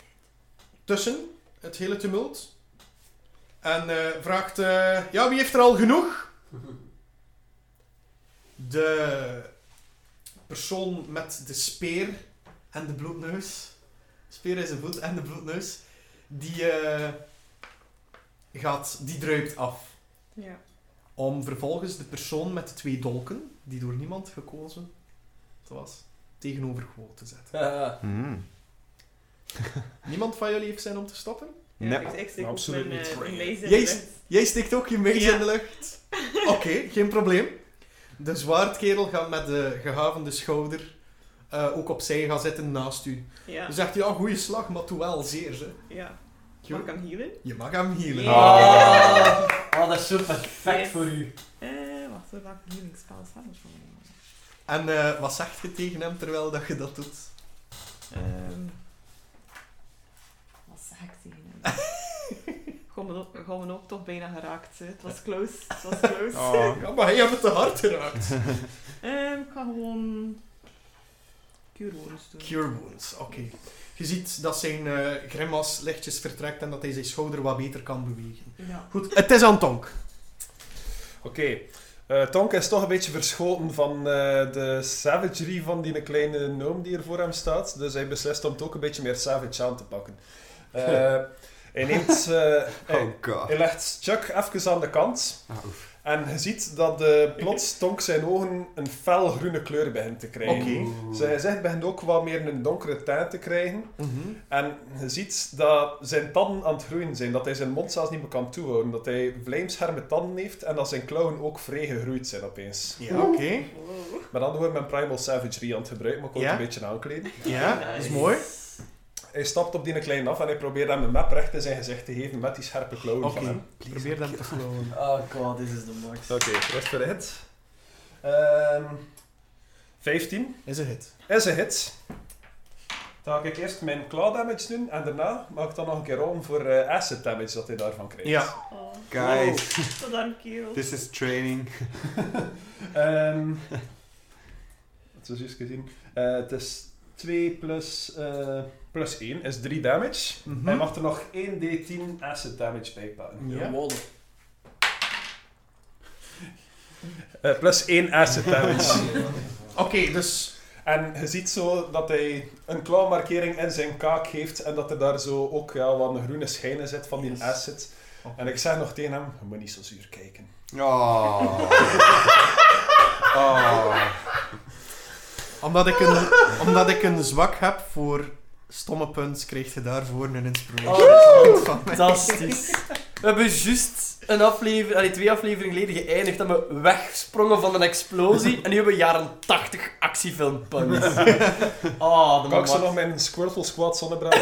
Speaker 6: tussen het hele tumult. En eh, vraagt, eh, ja, wie heeft er al genoeg? De persoon met de speer en de bloedneus. Speer in zijn voet en de bloedneus. Die, eh, gaat, die druipt af.
Speaker 7: Ja.
Speaker 6: Om vervolgens de persoon met de twee dolken, die door niemand gekozen was, tegenover gewoon te zetten.
Speaker 5: Eh,
Speaker 3: Mm.
Speaker 6: Niemand van jullie heeft zijn om te stoppen?
Speaker 7: Ja,
Speaker 3: Nee.
Speaker 7: ik, ik steek ook
Speaker 1: Absoluut
Speaker 7: mijn,
Speaker 1: niet.
Speaker 7: eh, mijn laser
Speaker 6: Jij
Speaker 7: in de
Speaker 6: s-
Speaker 7: lucht.
Speaker 6: Jij steekt ook je mace
Speaker 7: Ja.
Speaker 6: in de lucht. Oké, geen probleem. De zwaardkerel gaat met de gehavende schouder eh, ook opzij gaan zitten naast u.
Speaker 7: Ja,
Speaker 6: Dan zegt hij, ja, goede slag, maar toe wel zeer. Hè.
Speaker 7: ja. Mag ik
Speaker 6: Je,
Speaker 7: hem healen?
Speaker 6: je mag hem healen.
Speaker 7: Ja.
Speaker 5: Ah, ah, dat is zo perfect
Speaker 7: Yes.
Speaker 5: voor u.
Speaker 7: Eh, wacht, we maken healing spells hebben voor mij.
Speaker 6: En eh, wat zegt je tegen hem terwijl dat je dat doet?
Speaker 7: Ehm wat zeg ik tegen hem? Gewoon mijn ook- gewoon mijn ook toch bijna geraakt. hè. Het was close. Het was close.
Speaker 3: Oh.
Speaker 6: Ja, maar hij heeft het te hard geraakt.
Speaker 7: Ehm, ik ga gewoon cure wounds doen.
Speaker 6: Cure wounds, oké. Je ziet dat zijn eh grimas lichtjes vertrekt en dat hij zijn schouder wat beter kan bewegen.
Speaker 7: Ja.
Speaker 6: Goed, het is aan Tonk.
Speaker 1: Oké. Eh, Tonk is toch een beetje verschoten van eh, de savagery van die kleine noom die er voor hem staat. Dus hij beslist om het ook een beetje meer savage aan te
Speaker 3: (laughs)
Speaker 1: pakken. Eh, hij neemt... eh, hij,
Speaker 3: Oh (laughs) god.
Speaker 1: hij legt Chuck even aan de kant.
Speaker 3: Ah, oef.
Speaker 1: En je ziet dat eh, plots Tonk zijn ogen een fel groene kleur begint te krijgen.
Speaker 6: Oké.
Speaker 1: Zijn gezicht begint ook wat meer een donkere tint te krijgen.
Speaker 6: Mhm.
Speaker 1: En je ziet dat zijn tanden aan het groeien zijn, dat hij zijn mond zelfs niet meer kan toehouden, dat hij vlijmscherme tanden heeft en dat zijn klauwen ook vrij gegroeid zijn opeens.
Speaker 6: Ja, oké.
Speaker 7: Wow.
Speaker 1: Maar dan wordt mijn Primal Savagery aan het gebruiken, maar ik word
Speaker 6: Ja?
Speaker 1: een beetje aankleden.
Speaker 6: Ja, dat is mooi.
Speaker 1: Hij stapt op die kleine af en hij probeert hem een map recht in zijn gezicht te geven met die scherpe klauwen
Speaker 6: Oké,
Speaker 1: van hem.
Speaker 6: probeer dan te slowen.
Speaker 5: Oh god, dit is de max.
Speaker 1: Oké, rest voor de hit. Ehm 15
Speaker 6: Is een hit.
Speaker 1: is een hit. Dan ga ik eerst mijn claw damage doen en daarna mag ik dan nog een keer rollen voor eh, acid damage dat hij daarvan krijgt.
Speaker 6: Ja.
Speaker 7: Oh,
Speaker 3: Guys,
Speaker 7: tot aan kerel.
Speaker 3: this is training.
Speaker 1: (laughs) Ehm het is juist gezien. Eh, het is 2 plus, eh, plus 1 is 3 damage.
Speaker 6: Mhm.
Speaker 1: Hij mag er nog 1d10 acid damage bij pakken.
Speaker 6: Ja.
Speaker 5: Wow.
Speaker 1: Eh, plus 1 acid damage. (laughs)
Speaker 6: Oké, dus...
Speaker 1: en je ziet zo dat hij een klauwmarkering in zijn kaak heeft en dat er daar zo ook ja, wat een groene schijn in zit van die
Speaker 6: Yes.
Speaker 1: acid. En ik zeg nog tegen hem, je moet niet zo zuur kijken.
Speaker 3: Oh. (laughs) Oh.
Speaker 6: Omdat ik, een, omdat ik een zwak heb voor stomme punts, kreeg je daarvoor een inspiration.
Speaker 5: Oh,
Speaker 6: van mij.
Speaker 5: fantastisch. We hebben juist een aflever, allee, twee afleveringen geleden geëindigd dat we wegsprongen van een explosie. En nu hebben we jaren 80 actiefilmpunks. Oh, de
Speaker 1: Kan ik zo
Speaker 5: maat.
Speaker 1: nog mijn Squirtle Squad zonnebrand?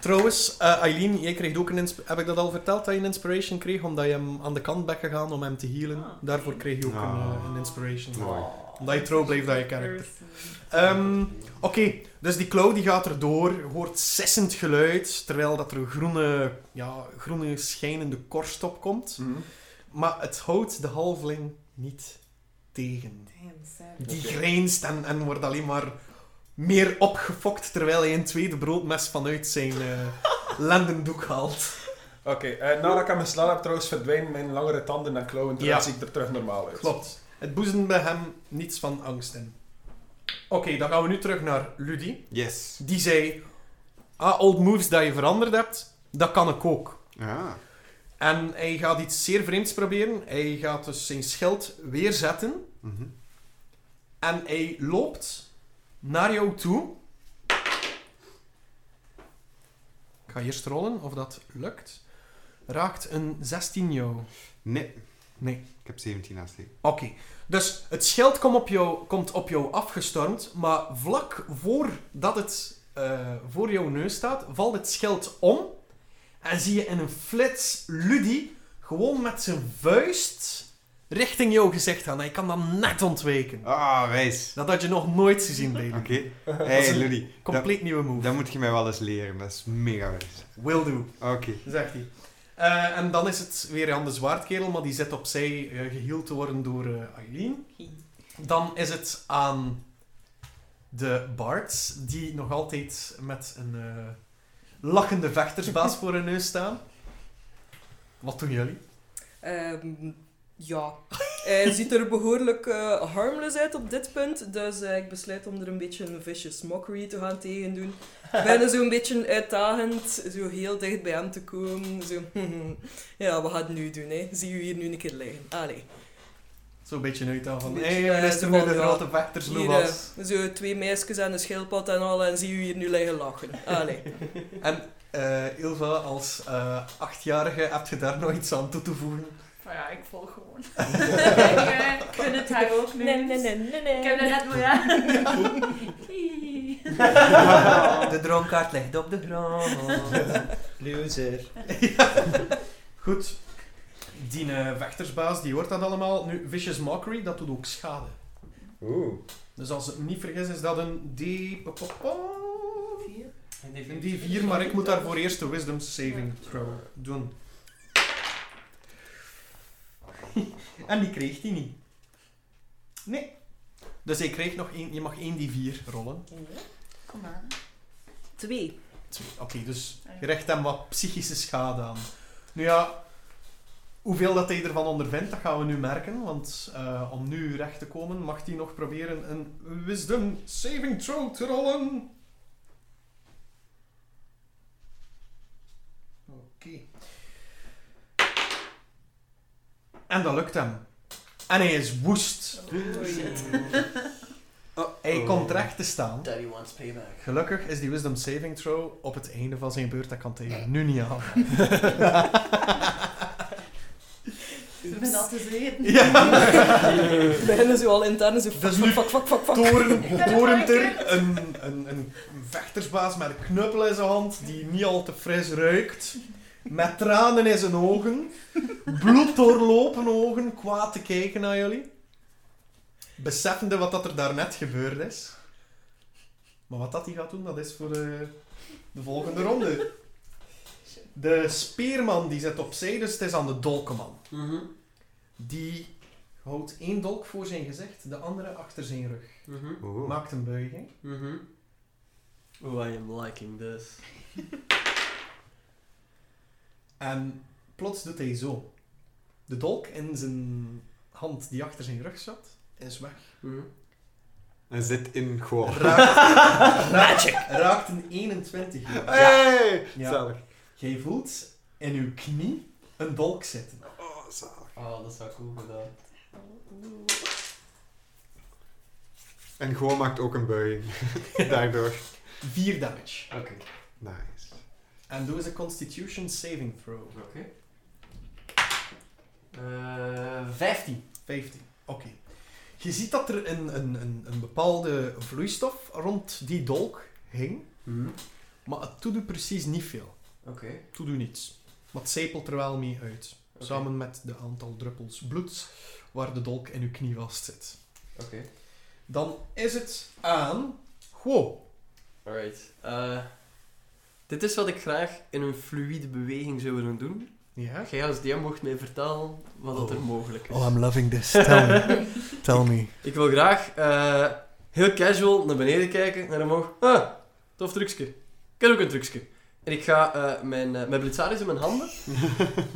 Speaker 6: Trouwens, eh, Aileen, jij kreeg ook een insp- Heb ik dat al verteld, dat je een inspiration kreeg? Omdat je hem aan de kant bent gegaan om hem te healen.
Speaker 7: Ah.
Speaker 6: Daarvoor kreeg je ook
Speaker 3: Ah.
Speaker 6: een, eh, een inspiration.
Speaker 3: Mooi.
Speaker 6: Omdat je trouw bleef dat je character.
Speaker 7: Person.
Speaker 6: Ehm, Oké, dus die klauw die gaat erdoor, hoort sessend geluid, terwijl dat er een groene, ja, groene schijnende korst op komt. Maar het houdt de halfling niet tegen.
Speaker 7: Damn, savage.
Speaker 6: Die
Speaker 1: Oké.
Speaker 6: grijnst en, en wordt alleen maar meer opgefokt, terwijl hij een tweede broodmes vanuit zijn eh, lendendoek haalt.
Speaker 1: Oké, eh, nadat ik hem geslagen heb trouwens verdwijnen mijn langere tanden en klauwen terwijl
Speaker 6: Ja.
Speaker 1: zie ik er terug normaal uit. (laughs)
Speaker 6: Klopt. Het boezemt bij hem niets van angst in. Oké, dan gaan we nu terug naar Ludie.
Speaker 3: Yes.
Speaker 6: Die zei, ah, old moves dat je veranderd hebt, dat kan ik ook.
Speaker 3: Ah.
Speaker 6: En hij gaat iets zeer vreemds proberen. Hij gaat dus zijn schild weer zetten.
Speaker 3: Mhm.
Speaker 6: En hij loopt naar jou toe. Ik ga eerst rollen of dat lukt. Raakt een 16 jou.
Speaker 3: Nee.
Speaker 6: Nee.
Speaker 3: Ik heb 17 naast die.
Speaker 6: Oké. Dus het schild komt op, jou, komt op jou afgestormd. Maar vlak voordat het eh, voor jouw neus staat, valt het schild om. En zie je in een flits Ludi gewoon met zijn vuist richting jouw gezicht gaan. Hij kan dan net ontwijken.
Speaker 3: Ah, wijs.
Speaker 6: Dat had je nog nooit gezien, Bailey.
Speaker 3: Oké. Hey, Ludie. Dat,
Speaker 6: Compleet nieuwe move.
Speaker 3: dat moet je mij wel eens leren. Dat is mega wijs.
Speaker 6: Will do.
Speaker 3: Oké.
Speaker 6: zegt hij. Eh, en dan is het weer aan de zwaardkerel, maar die zit opzij eh, geheeld te worden door eh Aileen. Dan is het aan de bards, die nog altijd met een eh, lachende vechtersbaas voor hun neus staan. Wat doen jullie?
Speaker 4: Ehm, ja. Hij ziet er behoorlijk eh, harmless uit op dit punt. Dus eh, ik besluit om er een beetje een vicious mockery te gaan tegendoen. Ik ben zo'n beetje uitdagend, zo heel dicht bij hem te komen. Zo, (laughs) ja, wat gaat het nu doen, hè? Zie u hier nu een keer liggen. Allee.
Speaker 6: Zo'n beetje uit aan van,
Speaker 4: Beetje,
Speaker 6: hé, hey,
Speaker 4: eh,
Speaker 6: minister
Speaker 4: zo
Speaker 6: van
Speaker 4: van,
Speaker 6: de
Speaker 4: ja,
Speaker 6: grote vechters,
Speaker 4: Hier,
Speaker 6: Loas.
Speaker 4: eh, zo twee meisjes en een schildpad en al, en zie u hier nu liggen lachen. Allee.
Speaker 6: En eh, Ilva, als eh, achtjarige, heb je daar nog iets aan toe te voegen?
Speaker 2: Maar Oh ja, ik volg
Speaker 6: (laughs)
Speaker 2: gewoon. ik eh, vind het hij ook nu.
Speaker 4: (laughs) Nee, nee, nee, nee, nee.
Speaker 2: Ik heb dat net maar
Speaker 6: (laughs)
Speaker 2: ja.
Speaker 5: (laughs) De dronkaart ligt op de grond. Loser.
Speaker 6: Goed. Die eh, vechtersbaas, die hoort dat allemaal. Nu, Vicious Mockery, dat doet ook schade.
Speaker 1: Oeh.
Speaker 6: Dus als ik me niet vergis, is dat een D... pa, pa, pa. Een D4, maar ik moet daarvoor eerst de Wisdom Saving Throw doen. (laughs) en die kreeg hij niet. Nee. Dus hij kreeg nog één... Je mag één D4 rollen.
Speaker 2: Kom aan.
Speaker 4: Twee.
Speaker 6: Twee. Oké, dus je recht hem wat psychische schade aan. Nu ja, hoeveel dat hij ervan ondervindt, dat gaan we nu merken. Want eh, om nu recht te komen, mag hij nog proberen een wisdom saving throw te rollen. Oké. En dat lukt hem. En hij is woest.
Speaker 2: Oh,
Speaker 6: Hij komt recht te staan.
Speaker 5: Daddy wants payback.
Speaker 6: Gelukkig is die Wisdom Saving Throw op het einde van zijn beurt. Dat kan tegen nu niet
Speaker 5: (laughs)
Speaker 6: aan.
Speaker 2: Ik ben al te zweten.
Speaker 4: (laughs) We beginnen zo al intern zo fuck,
Speaker 6: Dat is nu-
Speaker 4: fuck, fuck, fuck, fuck, fuck.
Speaker 6: Toren,
Speaker 2: het
Speaker 6: torent
Speaker 2: wel
Speaker 6: er een, een, een vechtersbaas met een knuppel in zijn hand die niet al te fris ruikt. Met tranen in zijn ogen. Bloed doorlopen ogen, kwaad te kijken naar jullie. Beseffende wat dat er daarnet gebeurd is. Maar wat dat hij gaat doen, dat is voor de, de volgende ronde. De speerman die zit opzij, dus het is aan de dolkeman.
Speaker 5: Mhm.
Speaker 6: Die houdt één dolk voor zijn gezicht, de andere achter zijn rug.
Speaker 5: Mhm.
Speaker 3: Oeh.
Speaker 6: Maakt een buiging.
Speaker 5: Mhm. Oh, I am liking this.
Speaker 6: En plots doet hij zo. De dolk in zijn hand die achter zijn rug zat, is weg.
Speaker 5: Mhm.
Speaker 3: En zit in gewoon. (laughs)
Speaker 6: Raakt, Magic! Raakt een 21.
Speaker 3: Hey!
Speaker 6: Ja.
Speaker 3: Zalig.
Speaker 6: Jij voelt in uw knie een dolk zitten.
Speaker 3: Oh, zalig.
Speaker 5: Oh, dat zou cool gedaan.
Speaker 3: En (laughs) gewoon maakt ook een buiging. Daardoor.
Speaker 6: 4 damage.
Speaker 5: Oké.
Speaker 3: Nice.
Speaker 1: En doe eens een Constitution saving throw.
Speaker 6: Eh, 15.
Speaker 1: 15. Oké. Je ziet dat er een, een, een, een bepaalde vloeistof rond die dolk hing,
Speaker 5: Mhm.
Speaker 1: maar het doet u precies niet veel.
Speaker 6: Oké.
Speaker 1: Het doet u niets. Maar het sepelt er wel mee uit.
Speaker 6: Oké.
Speaker 1: Samen met de aantal druppels bloed waar de dolk in uw knie vastzit.
Speaker 6: Oké.
Speaker 1: Dan is het aan. Wow.
Speaker 6: Alright. Eh, dit is wat ik graag in een fluïde beweging zou willen doen.
Speaker 1: Ja.
Speaker 6: Jij als DM mocht mij vertellen wat dat er mogelijk is.
Speaker 1: Oh, loving this.
Speaker 5: (laughs)
Speaker 1: Tell me. (laughs) Tell me.
Speaker 6: Ik wil graag eh, heel casual naar beneden kijken, naar omhoog.
Speaker 5: oh,
Speaker 6: Ah,
Speaker 5: eh.
Speaker 6: tof trucje. Ik heb ook een trucje. En ik ga eh, mijn, eh, mijn blitzaris in mijn handen,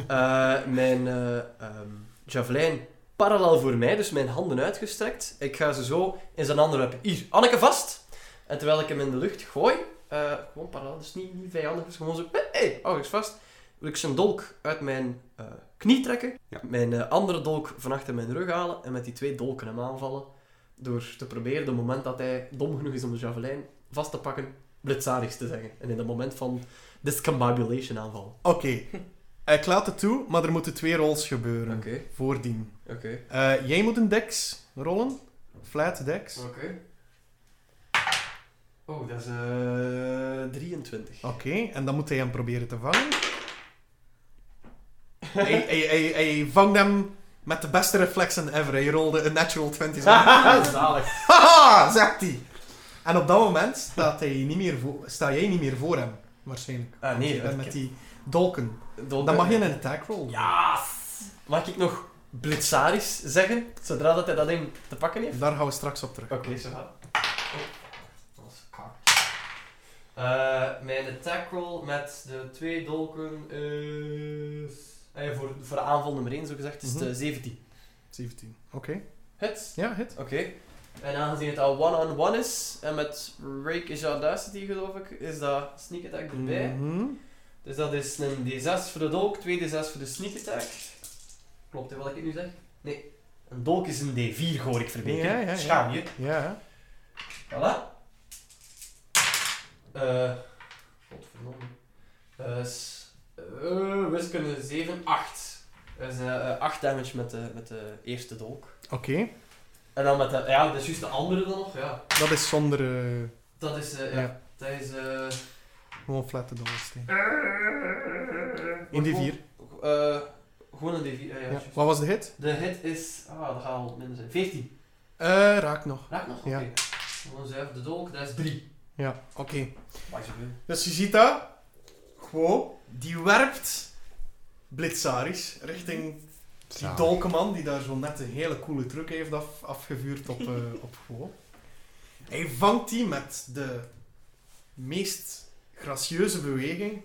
Speaker 6: eh, mijn eh, ehm, javelijn parallel voor mij, dus mijn handen uitgestrekt. Ik ga ze zo in zijn handen hebben. Hier, Anneke vast! En terwijl ik hem in de lucht gooi, eh, gewoon parallel, dus niet, niet vijandig, dus gewoon zo, hé, hey, hou eens vast. Wil ik zijn dolk uit mijn eh, knie trekken,
Speaker 3: Ja.
Speaker 6: mijn eh, andere dolk van achter mijn rug halen en met die twee dolken hem aanvallen. Door te proberen, de moment dat hij dom genoeg is om de javelijn vast te pakken, blitzarigs te zeggen. En in dat moment van discombobulation aanvallen.
Speaker 1: Oké. Eh, Ik laat het toe, maar er moeten twee rolls gebeuren. Voordien.
Speaker 6: oké,
Speaker 1: Eh, jij moet een dex rollen. Flat dex. Oké.
Speaker 6: oké. Oh, dat is eh, 23.
Speaker 1: En dan moet hij hem proberen te vangen. hij, hij, hij, hij vangt hem met de beste reflexen ever. Hij rolde een natural 20.
Speaker 6: Ah. (laughs) Zalig.
Speaker 1: Haha, (laughs) zegt hij. En op dat moment staat hij niet meer voor, sta jij niet meer voor hem, waarschijnlijk.
Speaker 6: Ah, nee,
Speaker 1: Want je bent
Speaker 6: oké.
Speaker 1: met die dolken. Dan mag je een attack roll. doen.
Speaker 6: Ja! Mag ik nog blitzaris zeggen, zodra dat hij dat in te pakken heeft?
Speaker 1: Daar gaan we straks op terug.
Speaker 6: Oké, zo gaat. Oh, Dat was kak. Eh, mijn attack roll met de twee dolken is... eh, voor, voor de aanval nummer 1, zo gezegd, is het eh,
Speaker 1: Mhm.
Speaker 6: 17.
Speaker 1: 17. Oké.
Speaker 6: Hits.
Speaker 1: Ja, hit.
Speaker 6: Oké. En aangezien het al one-on-one is, en met Rake is Audacity geloof ik, is dat sneak attack erbij.
Speaker 1: Mhm.
Speaker 6: Dus dat is een D6 voor de dolk, 2D6 voor de sneak attack. Klopt hè, wat ik nu zeg? Nee. Een dolk is een D4, hoor ik verbeteren.
Speaker 1: Ja, ja, ja.
Speaker 6: Schaam je.
Speaker 1: Ja.
Speaker 6: Voilà. Eh. Godverdomme. Eh, s- eh, wiskunde 7, 8. Dus eh, eh, 8 damage met de, met de eerste dolk.
Speaker 1: Oké.
Speaker 6: En dan met de. Ja, dat is juist de andere dan nog, ja.
Speaker 1: Dat is zonder... eh,
Speaker 6: Dat is. eh, ja.
Speaker 1: Ja.
Speaker 6: Dat is. eh,
Speaker 1: Gewoon flatte dobbelsteen. In die vier.
Speaker 6: eh, gewoon een D4. eh, ja,
Speaker 1: Ja.
Speaker 6: juist.
Speaker 1: Wat was de hit?
Speaker 6: De hit is. Ah, dat gaat al minder zijn. 14.
Speaker 1: Eh, raak nog.
Speaker 6: Raak nog? Oké.
Speaker 1: Ja.
Speaker 6: Gewoon zuiver de dolk, dat is 3.
Speaker 1: Ja, oké.
Speaker 6: Maar zoveel.
Speaker 1: Dus je ziet dat. Gewoon. Die werpt Blitzaris richting Die
Speaker 3: Zalig.
Speaker 1: dolkenman die daar zo net een hele coole truc heeft af, afgevuurd op, eh (laughs) op Go. Hij vangt die met de meest gracieuze beweging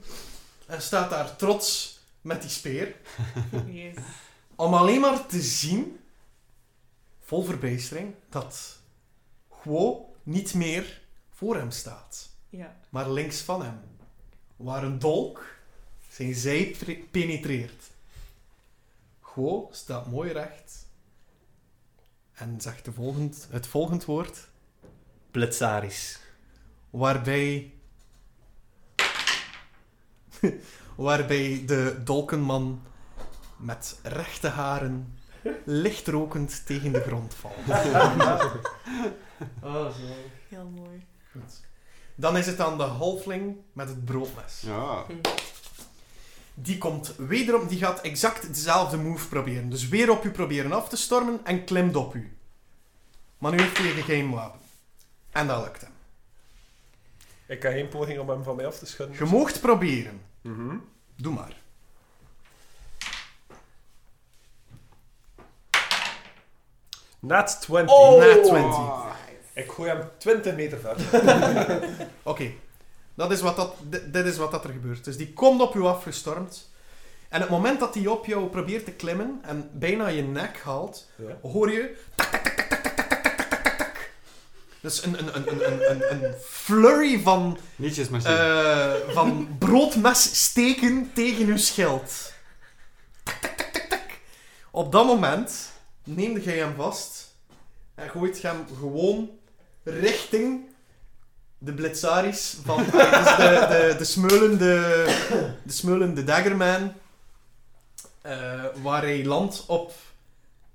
Speaker 1: en staat daar trots met die speer.
Speaker 4: Yes.
Speaker 1: Om alleen maar te zien, vol verbijstering, dat Guo niet meer voor hem staat,
Speaker 4: Ja.
Speaker 1: maar links van hem. Waar een dolk zijn zij pre- penetreert. Guo staat mooi recht en zegt de volgend, het volgend woord,
Speaker 6: Blitzaris.
Speaker 1: waarbij... waarbij de dolkenman met rechte haren licht rokend tegen de grond valt.
Speaker 6: (laughs) Oh, zo.
Speaker 4: Heel mooi.
Speaker 1: Dan is het aan de halfling met het broodmes.
Speaker 3: Ja.
Speaker 1: Die komt wederom, die gaat exact dezelfde move proberen. Dus weer op u proberen af te stormen en klimt op u. Maar nu heeft hij geen wapen. En dat lukt hem.
Speaker 8: Ik heb geen poging om hem van mij af te schudden.
Speaker 1: Je moogt proberen.
Speaker 8: Mhm.
Speaker 1: Doe maar.
Speaker 8: Nat 20.
Speaker 6: Oh!
Speaker 1: Na 20.
Speaker 8: Ik gooi hem 20 meter (laughs) verder.
Speaker 1: Oké. Dat is wat dat, di- dit is wat dat er gebeurt. Dus die komt op jou afgestormd. En het moment dat die op jou probeert te klimmen en bijna je nek haalt,
Speaker 8: Ja.
Speaker 1: hoor je... tak, tak, tak, tak, tak, tak, tak, tak, tak, tak, tak, tak. Dus een, een, een, een, een- een, een flurry van,
Speaker 3: Nietjes maar zien.
Speaker 1: eh van broodmes steken tegen uw schild. Tak, tak, tak, tak, tak. Op dat moment neemde jij hem vast en gooit je hem gewoon richting
Speaker 6: de blitzaris van eh, dus de, de, de smeulende, de smeulende daggerman, eh, waar hij landt op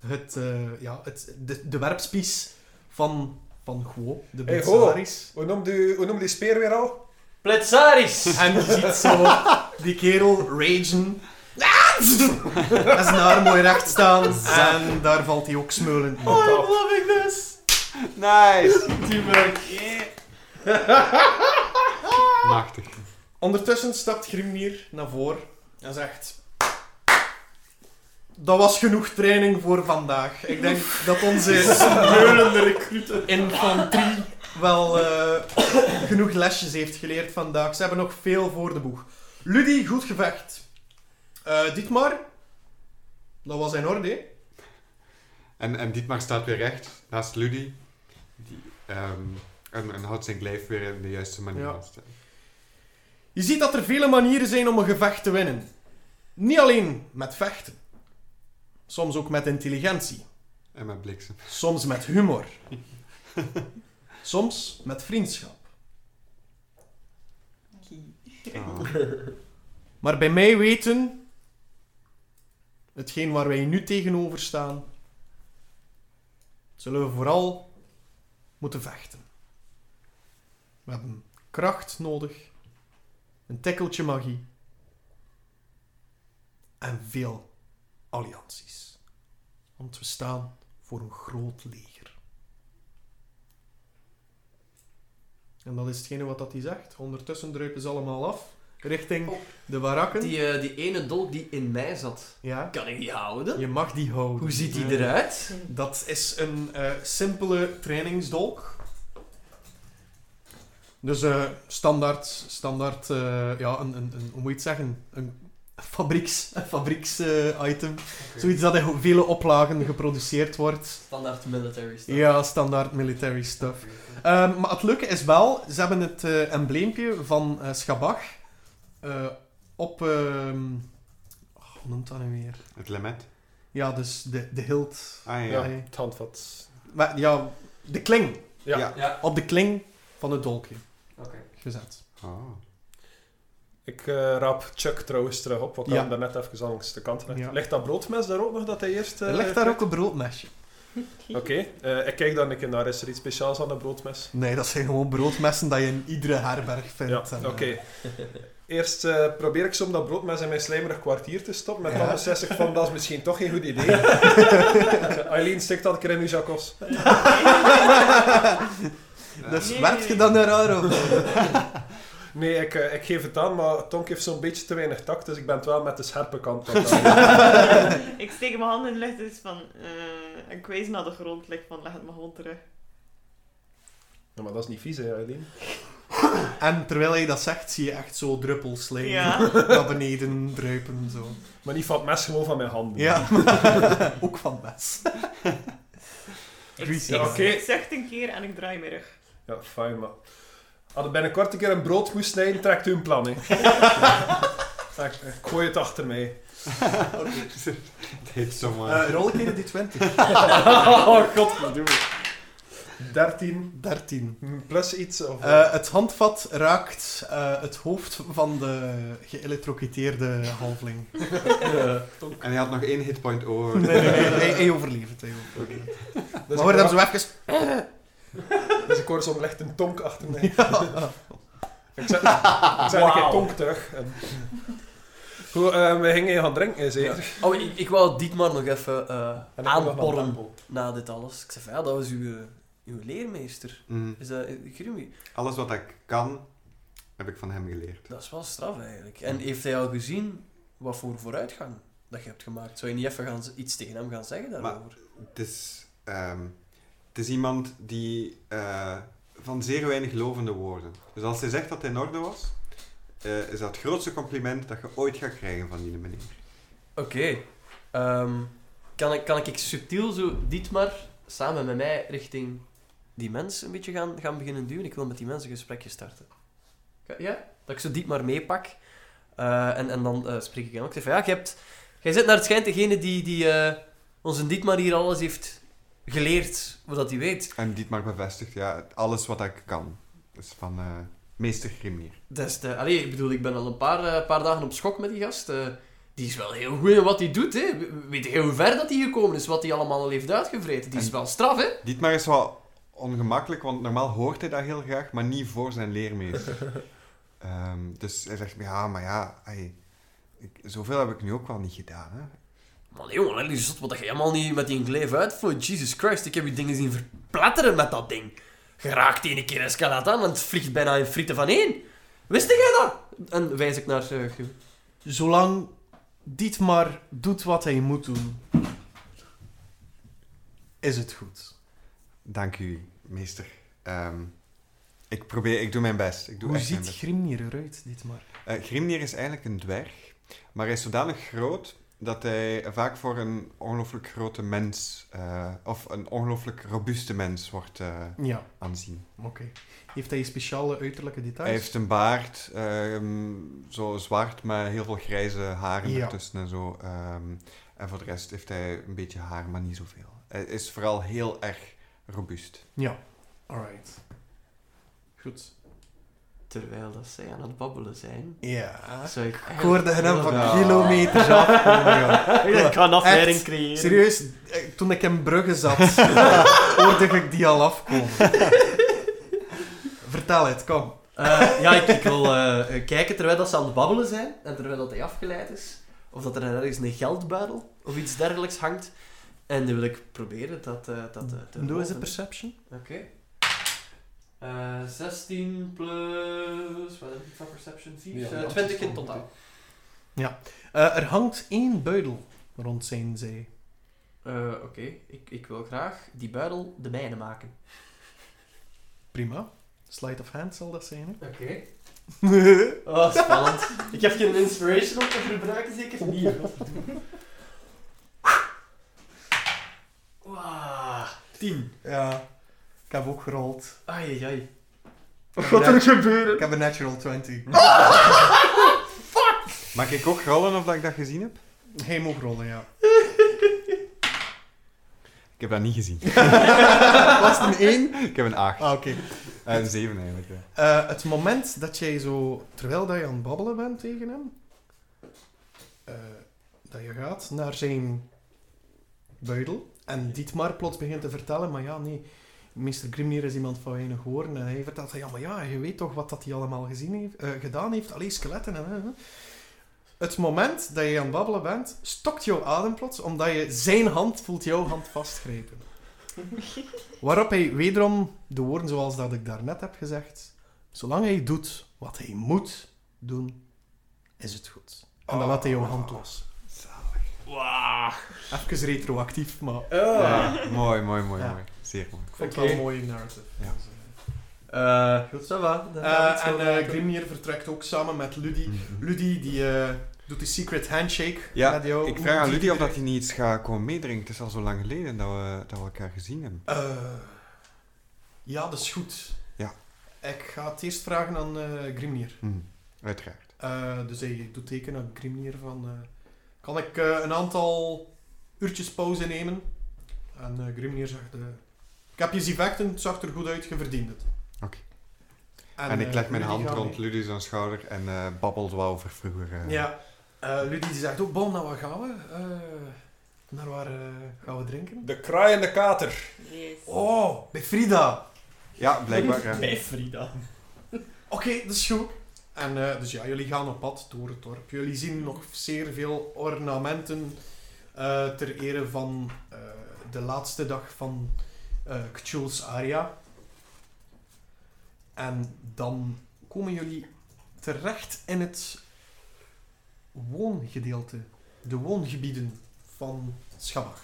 Speaker 6: het, eh, ja, het, de, de werpspies van, van Guo, de
Speaker 1: Hey, Guo.
Speaker 6: blitzaris.
Speaker 1: Hoe noemt u, hoe noemt die speer weer al?
Speaker 5: Pletsaris!
Speaker 6: En je ziet zo die kerel ragen. En zijn haar mooi recht staan. En daar valt hij ook smeulend in.
Speaker 5: I'm loving this!
Speaker 3: (laughs)
Speaker 9: Nice!
Speaker 5: Teamwork.
Speaker 3: Machtig.
Speaker 6: Ondertussen stapt Grimnir naar voren en zegt... Dat was genoeg training voor vandaag. Ik denk dat onze smeulende recruten infanterie wel eh, genoeg lesjes heeft geleerd vandaag. Ze hebben nog veel voor de boeg. Ludie, goed gevecht. Eh Dietmar, dat was in orde. hè?
Speaker 3: En, en Dietmar staat weer recht naast Ludie. Die, ehm, en, en houdt zijn glijf weer in de juiste manier
Speaker 6: Ja.
Speaker 3: vast.
Speaker 6: Je ziet dat er vele manieren zijn om een gevecht te winnen. Niet alleen met vechten. Soms ook met intelligentie.
Speaker 3: En met bliksem.
Speaker 6: Soms met humor. Soms met vriendschap.
Speaker 3: Oh.
Speaker 6: Maar bij mij weten, hetgeen waar wij nu tegenover staan, zullen we vooral moeten vechten. We hebben kracht nodig, een tikkeltje magie en veel allianties. Want we staan voor een groot leger. En dat is hetgene wat dat hij zegt. Ondertussen druipen ze allemaal af richting de warakken.
Speaker 5: Oh. Die, eh, die ene dolk die in mij zat,
Speaker 6: Ja,
Speaker 5: kan ik die houden?
Speaker 6: je mag die houden.
Speaker 5: Hoe ziet die eruit?
Speaker 6: Dat is een eh, simpele trainingsdolk. Dus eh, standaard, standaard eh, ja, een, een, een, hoe moet je het zeggen? Een fabrieks, een fabrieks eh, item. Zoiets dat in vele oplagen geproduceerd wordt.
Speaker 5: Standaard military stuff.
Speaker 6: Ja, standaard military stuff. Ehm, maar het leuke is wel, ze hebben het eh, embleempje van eh Schabach eh, op... ehm, oh, hoe noemt dat nu weer?
Speaker 3: Het lemet.
Speaker 6: Ja, dus de, de hilt.
Speaker 3: Ah ja.
Speaker 1: Ja.
Speaker 6: eh,
Speaker 1: Het handvat.
Speaker 6: maar ja, de kling.
Speaker 1: Ja.
Speaker 3: Ja.
Speaker 5: Ja.
Speaker 6: Op de kling van het dolkje
Speaker 5: Oké.
Speaker 6: gezet.
Speaker 3: Oh.
Speaker 1: Ik eh, raap Chuck trouwens terug op, want ik
Speaker 6: Ja.
Speaker 1: had hem daarnet even langs de kant gelegd.
Speaker 6: Ja.
Speaker 1: Ligt dat broodmes daar ook nog dat hij eerst... eh,
Speaker 6: er ligt daar ook een broodmesje.
Speaker 1: Oké, eh, ik kijk dan een keer naar. Is er iets speciaals aan dat broodmes?
Speaker 6: Nee, dat zijn gewoon broodmessen dat je in iedere herberg vindt.
Speaker 1: Ja,
Speaker 6: En,
Speaker 1: oké. (laughs)
Speaker 6: eh,
Speaker 1: Eerst eh, probeer ik zo om dat broodmes in mijn slijmerig kwartier te stoppen. Met
Speaker 6: Ja.
Speaker 1: dan beslis ik van, dat is misschien toch geen goed
Speaker 6: (laughs)
Speaker 1: idee. (laughs) Eileen, stik dat een keer in uw jackos.
Speaker 6: Dus
Speaker 7: Nee.
Speaker 6: werkt je dan naar haar over?
Speaker 1: Nee, ik, eh, ik geef het aan, maar Tonk heeft zo'n beetje te weinig tact, dus ik ben het wel met de scherpe kant.
Speaker 6: (laughs)
Speaker 1: aan het doen.
Speaker 7: ik steek mijn handen in de lucht dus van, eh, en ik wijs naar de grond, like van leg het maar gewoon terug.
Speaker 1: ja, maar dat is niet vies, hè, Eileen?
Speaker 6: En terwijl hij dat zegt, zie je echt zo druppels slijm
Speaker 7: Ja.
Speaker 6: (laughs) naar beneden druipen. Zo.
Speaker 1: Maar niet van het mes, gewoon van mijn handen.
Speaker 6: Ja, (laughs) ook van mes. Greasy.
Speaker 1: Ja, oké.
Speaker 7: Ik zucht een keer en ik draai me rug.
Speaker 1: Ja, fijn, maar... Als ik binnenkort een keer een brood moest snijden, trekt u een plan,
Speaker 6: (laughs)
Speaker 1: hè. Ja, ik, ik gooi het achter
Speaker 6: (laughs)
Speaker 1: mij.
Speaker 3: Het heeft zomaar.
Speaker 6: Eh rol een keer die 20.
Speaker 1: oh, godverdomme. 13
Speaker 6: 13.
Speaker 1: plus iets, of...
Speaker 6: Eh, het handvat raakt eh, het hoofd van de geëlektrocuteerde halfling. eh,
Speaker 3: En hij had nog één hitpoint over.
Speaker 6: Nee, nee, nee, (laughs) hij, hij overleeft. Hij overleeft.
Speaker 1: dus
Speaker 6: maar hoor
Speaker 1: ik
Speaker 6: hem
Speaker 1: hoor,
Speaker 6: zo even...
Speaker 1: dus ik hoor zo'n licht een tonk achter mij.
Speaker 6: Ja. (laughs)
Speaker 1: Ik zet, ik zet een keer tonk terug. En... Goed, eh, we gingen gaan drinken, zeker?
Speaker 5: (laughs) Oh, ik, ik wou Dietmar nog even eh
Speaker 1: En dan komen we van
Speaker 5: aanporren
Speaker 1: Tempo.
Speaker 5: na dit alles. Ik zei van, ja, dat was uw, eh, uw leermeester.
Speaker 3: Mm.
Speaker 5: Is dat eh, Grimmy?
Speaker 3: Alles wat ik kan, heb ik van hem geleerd.
Speaker 5: Dat is wel straf eigenlijk. En heeft hij al gezien wat voor vooruitgang dat je hebt gemaakt? Zou je niet even gaan, z- iets tegen hem gaan zeggen daarover?
Speaker 3: Het is, ehm, het is iemand die eh, van zeer weinig lovende woorden. Dus als hij zegt dat hij in orde was, eh, is dat het grootste compliment dat je ooit gaat krijgen van die meneer.
Speaker 5: Oké. Ehm, kan, ik, kan ik subtiel zo Dietmar samen met mij richting die mensen een beetje gaan, gaan beginnen duwen? Ik wil met die mensen een gesprekje starten. Ka- Ja? Dat ik zo Dietmar meepak. Eh, en, en dan eh, spreek ik hem ook. Ik zeg van, ja, jij hebt- jij zit naar het schijnt degene die, die eh, onze Dietmar hier alles heeft geleerd, wat dat hij weet.
Speaker 3: En Dietmar bevestigt, ja, alles wat ik kan. Dat is van eh, meester Grimier.
Speaker 5: Dat is de, allee, ik bedoel, ik ben al een paar, eh, paar dagen op schok met die gast. eh. die is wel heel goed in wat hij doet, hè. Weet je hoe ver dat hij gekomen is, wat hij allemaal al heeft uitgevreten? Die is
Speaker 3: En-
Speaker 5: wel straf, hè.
Speaker 3: Dietmar is wel ongemakkelijk, want normaal hoort hij dat heel graag, maar niet voor zijn leermeester. Ehm, dus hij zegt, ja, maar ja, ey, ik, zoveel heb ik nu ook wel niet gedaan. Hè?
Speaker 5: Man, jongen, hè, die zot wat je helemaal niet met die gleef uitvloeit. Jesus Christ, ik heb je dingen zien verplatteren met dat ding. Je raakt één keer een skelet aan en het vliegt bijna in frieten van één. Wist jij dat? En wijs ik naar... eh, Gu-
Speaker 6: Zolang Dietmar doet wat hij moet doen, is het goed.
Speaker 3: Dank u, meester. Ehm, ik probeer, ik doe mijn best. Ik doe
Speaker 6: Hoe
Speaker 3: echt mijn
Speaker 6: ziet
Speaker 3: best.
Speaker 6: Grimnir eruit, Dietmar?
Speaker 3: Eh, Grimnir is eigenlijk een dwerg, maar hij is zodanig groot dat hij vaak voor een ongelooflijk grote mens, eh, of een ongelooflijk robuuste mens wordt eh,
Speaker 6: Ja,
Speaker 3: aanzien.
Speaker 6: oké. Heeft hij speciale uiterlijke details?
Speaker 3: Hij heeft een baard, ehm, zo zwart, maar heel veel grijze haren
Speaker 6: Ja.
Speaker 3: ertussen en zo. ehm, en voor de rest heeft hij een beetje haar, maar niet zoveel. Hij is vooral heel erg robuust.
Speaker 6: Alright. Goed.
Speaker 5: Terwijl dat zij aan het babbelen zijn...
Speaker 6: Ja.
Speaker 5: Zou ik
Speaker 6: Ik hoorde hem van
Speaker 3: Ja.
Speaker 6: kilometers
Speaker 5: (laughs)
Speaker 6: afkomen, joh.
Speaker 5: Ik ga een afleiding
Speaker 6: Echt?
Speaker 5: creëren.
Speaker 6: Serieus, eh, toen ik in Brugge
Speaker 10: (laughs)
Speaker 6: zat, (laughs) hoorde ik die al afkomen. Vertel het, kom.
Speaker 5: Eh, ja, ik, ik wil eh, eh, kijken terwijl dat ze aan het babbelen zijn en terwijl dat hij afgeleid is, of dat er ergens een geldbuidel of iets dergelijks hangt. En dan wil ik proberen dat, eh dat eh, te
Speaker 6: Doe eens een
Speaker 5: roven.
Speaker 6: perception.
Speaker 5: Oké. Eh, 16 plus... Wat heb ik van perception? 4?
Speaker 1: Ja, dat is
Speaker 5: 20 in
Speaker 1: goed,
Speaker 5: totaal.
Speaker 6: Eh, er hangt één buidel rond zijn zij.
Speaker 5: Eh, Oké, ik, ik wil graag die buidel de mijne maken.
Speaker 6: Prima. Sleight of hand zal dat zijn.
Speaker 5: Oké.
Speaker 6: (laughs)
Speaker 5: Oh, spannend. ik heb geen inspiration om te verbruiken, zeker niet.
Speaker 6: Oh.
Speaker 5: godverdomme. Wauw. 10.
Speaker 6: Hè? Ja. Ik heb ook gerold.
Speaker 5: Ai, ai, ai.
Speaker 6: Wat gaat er gebeuren? Ik heb een natural 20.
Speaker 3: Mag ik ook rollen of dat ik dat gezien heb?
Speaker 6: Hij mag rollen,
Speaker 5: (laughs)
Speaker 6: ja.
Speaker 3: Ik heb dat niet gezien. (laughs)
Speaker 6: Was het een 1?
Speaker 3: ik heb een 8.
Speaker 6: Ah, oké.
Speaker 3: Een 7 eigenlijk, ja.
Speaker 6: Eh, het moment dat jij zo, terwijl dat je aan het babbelen bent tegen hem, eh, dat je gaat naar zijn buidel en Dietmar plots begint te vertellen, maar ja, nee, meester Grimnir is iemand van weinig horen en hij vertelt, ja, maar ja, je weet toch wat dat hij allemaal gezien heeft, eh, gedaan heeft, alleen skeletten en... eh, eh. het moment dat je aan het babbelen bent, stokt jouw adem plots, omdat je zijn hand voelt jouw hand vastgrijpen. Waarop hij wederom de woorden zoals dat ik daarnet heb gezegd, zolang hij doet wat hij moet doen, is het goed. En dan laat hij jouw hand los.
Speaker 5: Wauw.
Speaker 6: Even retroactief, maar ik
Speaker 3: Ja, mooi, mooi, mooi,
Speaker 6: Ja.
Speaker 3: mooi. Zeer mooi.
Speaker 6: vond het
Speaker 5: Oké.
Speaker 6: wel een mooie narrative.
Speaker 3: Ja.
Speaker 6: Dus, eh.
Speaker 5: Eh, Goed, ça va. Dan
Speaker 6: Eh,
Speaker 5: gaat het
Speaker 6: en
Speaker 5: zo
Speaker 6: eh,
Speaker 5: werken.
Speaker 6: Grimnir vertrekt ook samen met Ludie. Ludie die eh, doet die secret handshake
Speaker 3: Mhm. Ja,
Speaker 6: met jou.
Speaker 3: Ik vraag aan
Speaker 6: Die-
Speaker 3: Ludie of dat hij niet iets gaat komen meedrinken. Het is al zo lang geleden dat we, dat we elkaar gezien hebben.
Speaker 6: Eh, ja, dat is goed.
Speaker 3: Ja.
Speaker 6: Ik ga het eerst vragen aan eh Grimnir.
Speaker 3: Hm, Uiteraard.
Speaker 6: Eh, dus hij doet teken aan Grimnir van... eh, kan ik eh, een aantal uurtjes pauze nemen? En eh, Grimnir zegt... eh, ik heb je zien vechten, het zag er goed uit, je verdient het.
Speaker 3: Oké.
Speaker 6: En,
Speaker 3: En, ik
Speaker 6: eh,
Speaker 3: leg mijn
Speaker 6: Ludie
Speaker 3: hand
Speaker 6: gaat
Speaker 3: rond
Speaker 6: mee.
Speaker 3: Ludie zijn schouder en eh babbelt wel over vroeger. eh.
Speaker 6: Ja. Eh Ludie die zegt ook, bon, naar waar gaan we? Eh, naar waar eh, gaan we drinken?
Speaker 1: De kraai en de kater.
Speaker 7: Yes.
Speaker 6: Oh, bij Frida.
Speaker 3: Ja, blijkbaar. ja.
Speaker 5: Bij Frida.
Speaker 6: Oké, dat is goed. En eh, dus ja, jullie gaan op pad door het dorp. Jullie zien nog zeer veel ornamenten eh, ter ere van eh, de laatste dag van eh Cthulhu's Aria. En dan komen jullie terecht in het woongedeelte, de woongebieden van Schabach.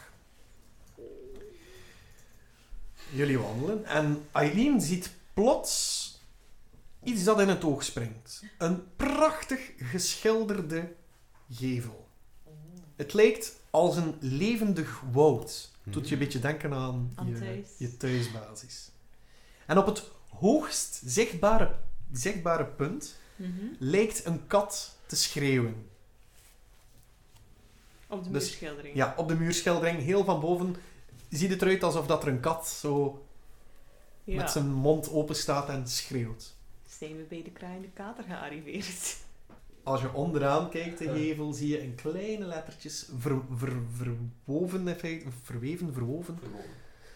Speaker 6: Jullie wandelen en Eileen ziet plots iets dat in het oog springt. Een prachtig geschilderde gevel. Het lijkt als een levendig woud.
Speaker 3: Mm.
Speaker 6: Het (laughs) doet je een beetje denken aan
Speaker 7: Aan
Speaker 6: je,
Speaker 7: thuis.
Speaker 6: je thuisbasis. En op het hoogst zichtbare, zichtbare punt
Speaker 7: Mhm.
Speaker 6: lijkt een kat te schreeuwen.
Speaker 7: Op de
Speaker 6: Dus-
Speaker 7: muurschildering.
Speaker 6: Ja, op de muurschildering, heel van boven, ziet het eruit alsof dat er een kat zo
Speaker 2: Ja.
Speaker 6: met zijn mond open staat en schreeuwt.
Speaker 2: Zijn we bij de kraaiende kater
Speaker 7: (laughs)
Speaker 2: gearriveerd?
Speaker 6: Als je onderaan kijkt, de
Speaker 1: Ja.
Speaker 6: gevel, zie je in kleine lettertjes ver, ver- verwoven, in feite, verweven, verwoven,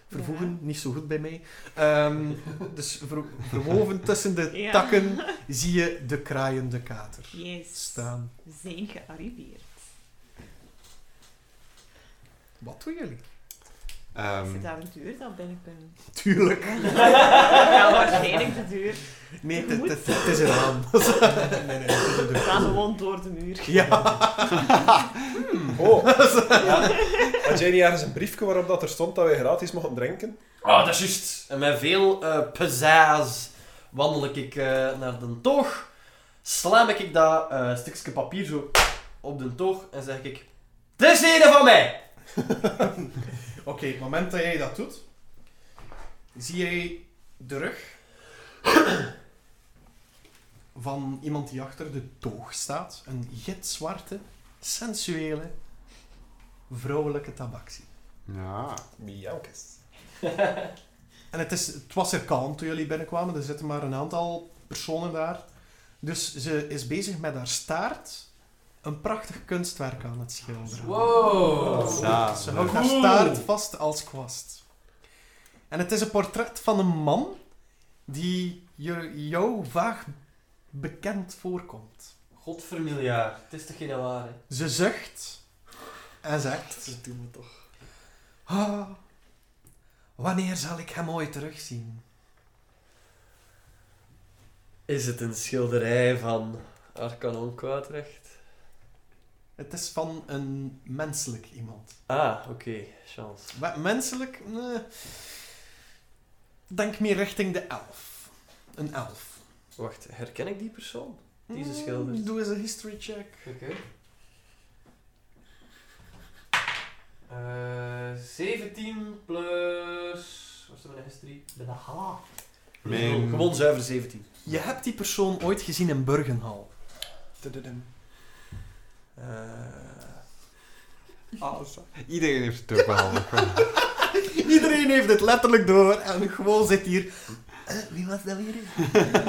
Speaker 6: vervoegen, niet zo goed bij mij.
Speaker 2: (laughs)
Speaker 6: Ehm, dus ver- verwoven tussen de
Speaker 2: Ja.
Speaker 6: takken zie je de kraaiende kater
Speaker 2: Yes.
Speaker 6: staan.
Speaker 2: We zijn gearriveerd.
Speaker 6: Wat doen jullie?
Speaker 2: Is
Speaker 3: Ehm,
Speaker 2: er daar een deur dat binnen (laughs)
Speaker 7: (laughs)
Speaker 2: kunnen?
Speaker 6: Tuurlijk.
Speaker 2: ja, waarschijnlijk de deur.
Speaker 6: Nee,
Speaker 2: Je
Speaker 6: het-
Speaker 2: moet-
Speaker 6: het het is een raam. (laughs) nee, nee, het is een
Speaker 2: We
Speaker 6: deur.
Speaker 2: gaan gewoon door de muur.
Speaker 6: Ja. (laughs)
Speaker 10: Oh. Ja. Had jij niet ergens een briefje waarop dat er stond dat wij gratis mochten drinken?
Speaker 1: Oh, dat is juist. En met veel eh pizzazz wandel ik eh, naar de toog. Slam ik dat eh, stukje papier zo op de toog en zeg ik... Dit is de van mij!
Speaker 6: (laughs) Oké, het moment dat jij dat doet, zie jij de rug (coughs) van iemand die achter de toog staat. Een gitzwarte, sensuele, vrouwelijke tabaksie.
Speaker 3: ja.
Speaker 10: Miaukes.
Speaker 6: En het, is, het was er kalm toen jullie binnenkwamen. Er zitten maar een aantal personen daar. Dus ze is bezig met haar staart een prachtig kunstwerk aan het schilderen.
Speaker 1: Wow.
Speaker 3: Ja,
Speaker 6: Ze houdt haar
Speaker 1: Cool.
Speaker 6: staart vast als kwast. En het is een portret van een man die je, jou vaag bekend voorkomt.
Speaker 1: Godvermiljaar. Het is toch geen waar, hè?
Speaker 6: Ze zucht en zegt...
Speaker 1: Dat doen we toch.
Speaker 6: "Ah, wanneer zal ik hem ooit terugzien?
Speaker 1: Is het een schilderij van Arcanon Kwaadrecht?
Speaker 6: Het is van een menselijk iemand.
Speaker 1: Ah, oké. Chance.
Speaker 6: Wa- Menselijk? Nee. Denk meer richting de elf. Een elf.
Speaker 1: Wacht, herken ik die persoon? Die ze
Speaker 6: Mm,
Speaker 1: schildert.
Speaker 6: Doe eens een history check.
Speaker 1: Oké. Eh, 17 plus... Wat is dat met een history? Met een H.
Speaker 3: Mijn-
Speaker 1: Gewoon zuiver 17.
Speaker 6: Je hebt die persoon ooit gezien in Burgenhal. Eh,
Speaker 3: Iedereen heeft het ook behalve.
Speaker 6: Iedereen heeft het letterlijk door en gewoon zit hier. eh, wie was dat weer?
Speaker 1: Eh,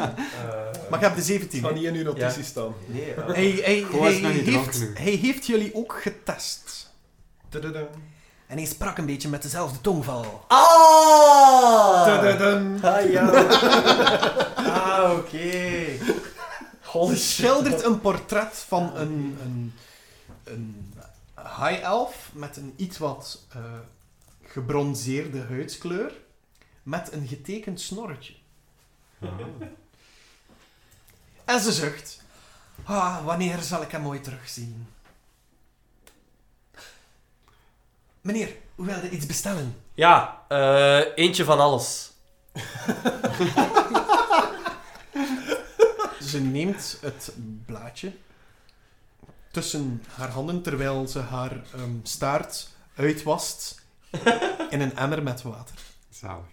Speaker 6: Maar ik heb de
Speaker 10: Het
Speaker 6: 17.
Speaker 10: gaat
Speaker 6: Hij,
Speaker 10: niet in uw notities staan.
Speaker 1: Nee, ja.
Speaker 6: hij,
Speaker 3: Gewoon is
Speaker 6: hij
Speaker 3: nog niet dronken
Speaker 6: heeft,
Speaker 3: genoeg.
Speaker 6: hij heeft jullie ook getest.
Speaker 10: Tududum.
Speaker 6: En hij sprak een beetje met dezelfde tongval.
Speaker 1: Ah!
Speaker 10: Tududum.
Speaker 1: Ah, ja. (laughs) ah, oké.
Speaker 6: Hij
Speaker 1: Holy
Speaker 6: schildert een portret van een, een, een high elf met een iets wat eh, gebronzeerde huidskleur. Met een getekend snorretje. En ze zucht. Ah, wanneer zal ik hem ooit terugzien? Meneer, u wilde iets bestellen.
Speaker 1: Ja, eh, eentje van alles.
Speaker 6: Ze neemt het blaadje tussen haar handen terwijl ze haar ehm, staart uitwast in een emmer met water.
Speaker 3: (laughs) Zalig.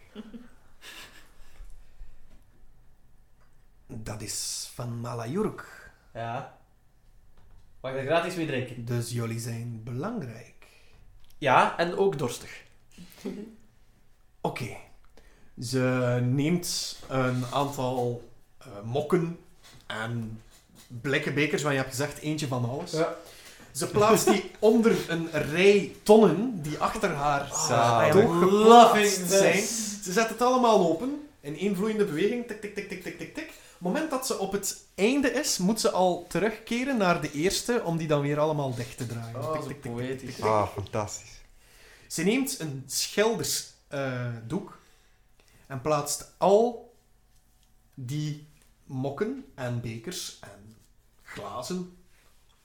Speaker 6: Dat is van Malajurk,
Speaker 1: Ja. Mag ik er gratis mee drinken?
Speaker 6: dus jullie zijn belangrijk.
Speaker 1: Ja, en ook dorstig.
Speaker 6: Oké. Ze neemt een aantal eh, mokken en blikken bekers, want je hebt gezegd eentje van alles.
Speaker 1: Ja.
Speaker 6: Ze plaatst die onder een rij tonnen die achter haar
Speaker 1: Ah,
Speaker 3: Zalig.
Speaker 6: doorgeplaatst zijn. Ze zet het allemaal open in één vloeiende beweging. Tik, tik, tik, tik, tik, tik, tik. Op het moment dat ze op het einde is, moet ze al terugkeren naar de eerste om die dan weer allemaal dicht te draaien.
Speaker 1: Oh,
Speaker 6: Tik,
Speaker 1: zo
Speaker 6: tik, tik, tik,
Speaker 1: poëtisch.
Speaker 6: tik, tik.
Speaker 3: Ah, fantastisch.
Speaker 6: Ze neemt een schildersdoek en plaatst al die mokken en bekers en glazen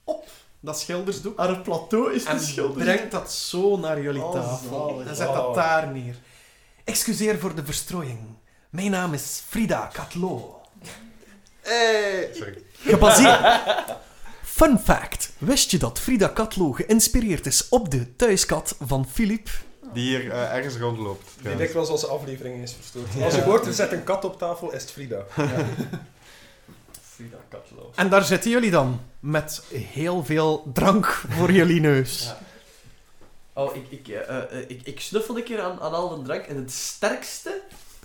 Speaker 6: op dat schildersdoek.
Speaker 1: Haar plateau is
Speaker 6: En brengt dat zo naar jullie
Speaker 1: Oh,
Speaker 6: tafel.
Speaker 1: zalig.
Speaker 6: En zet dat
Speaker 10: Wow.
Speaker 6: daar neer. Excuseer voor de verstrooiing. Mijn naam is Frida Katlo.
Speaker 3: Sorry.
Speaker 6: Gebaseerd.
Speaker 5: (laughs)
Speaker 6: Fun fact. Wist je dat Frida Katlo geïnspireerd is op de thuiskat van Philip?
Speaker 3: Die hier eh, ergens rondloopt.
Speaker 10: Die
Speaker 3: trouwens.
Speaker 10: dikwijls onze aflevering is verstoord. Als je hoort, er zit een kat op tafel, is het Frida.
Speaker 1: Frida Kahlo.
Speaker 6: En daar zitten jullie dan. Met heel veel drank voor jullie neus.
Speaker 1: Ja. eh, Oh, ik, ik, eh, eh, ik, ik snuffel een keer aan, aan al de drank en het sterkste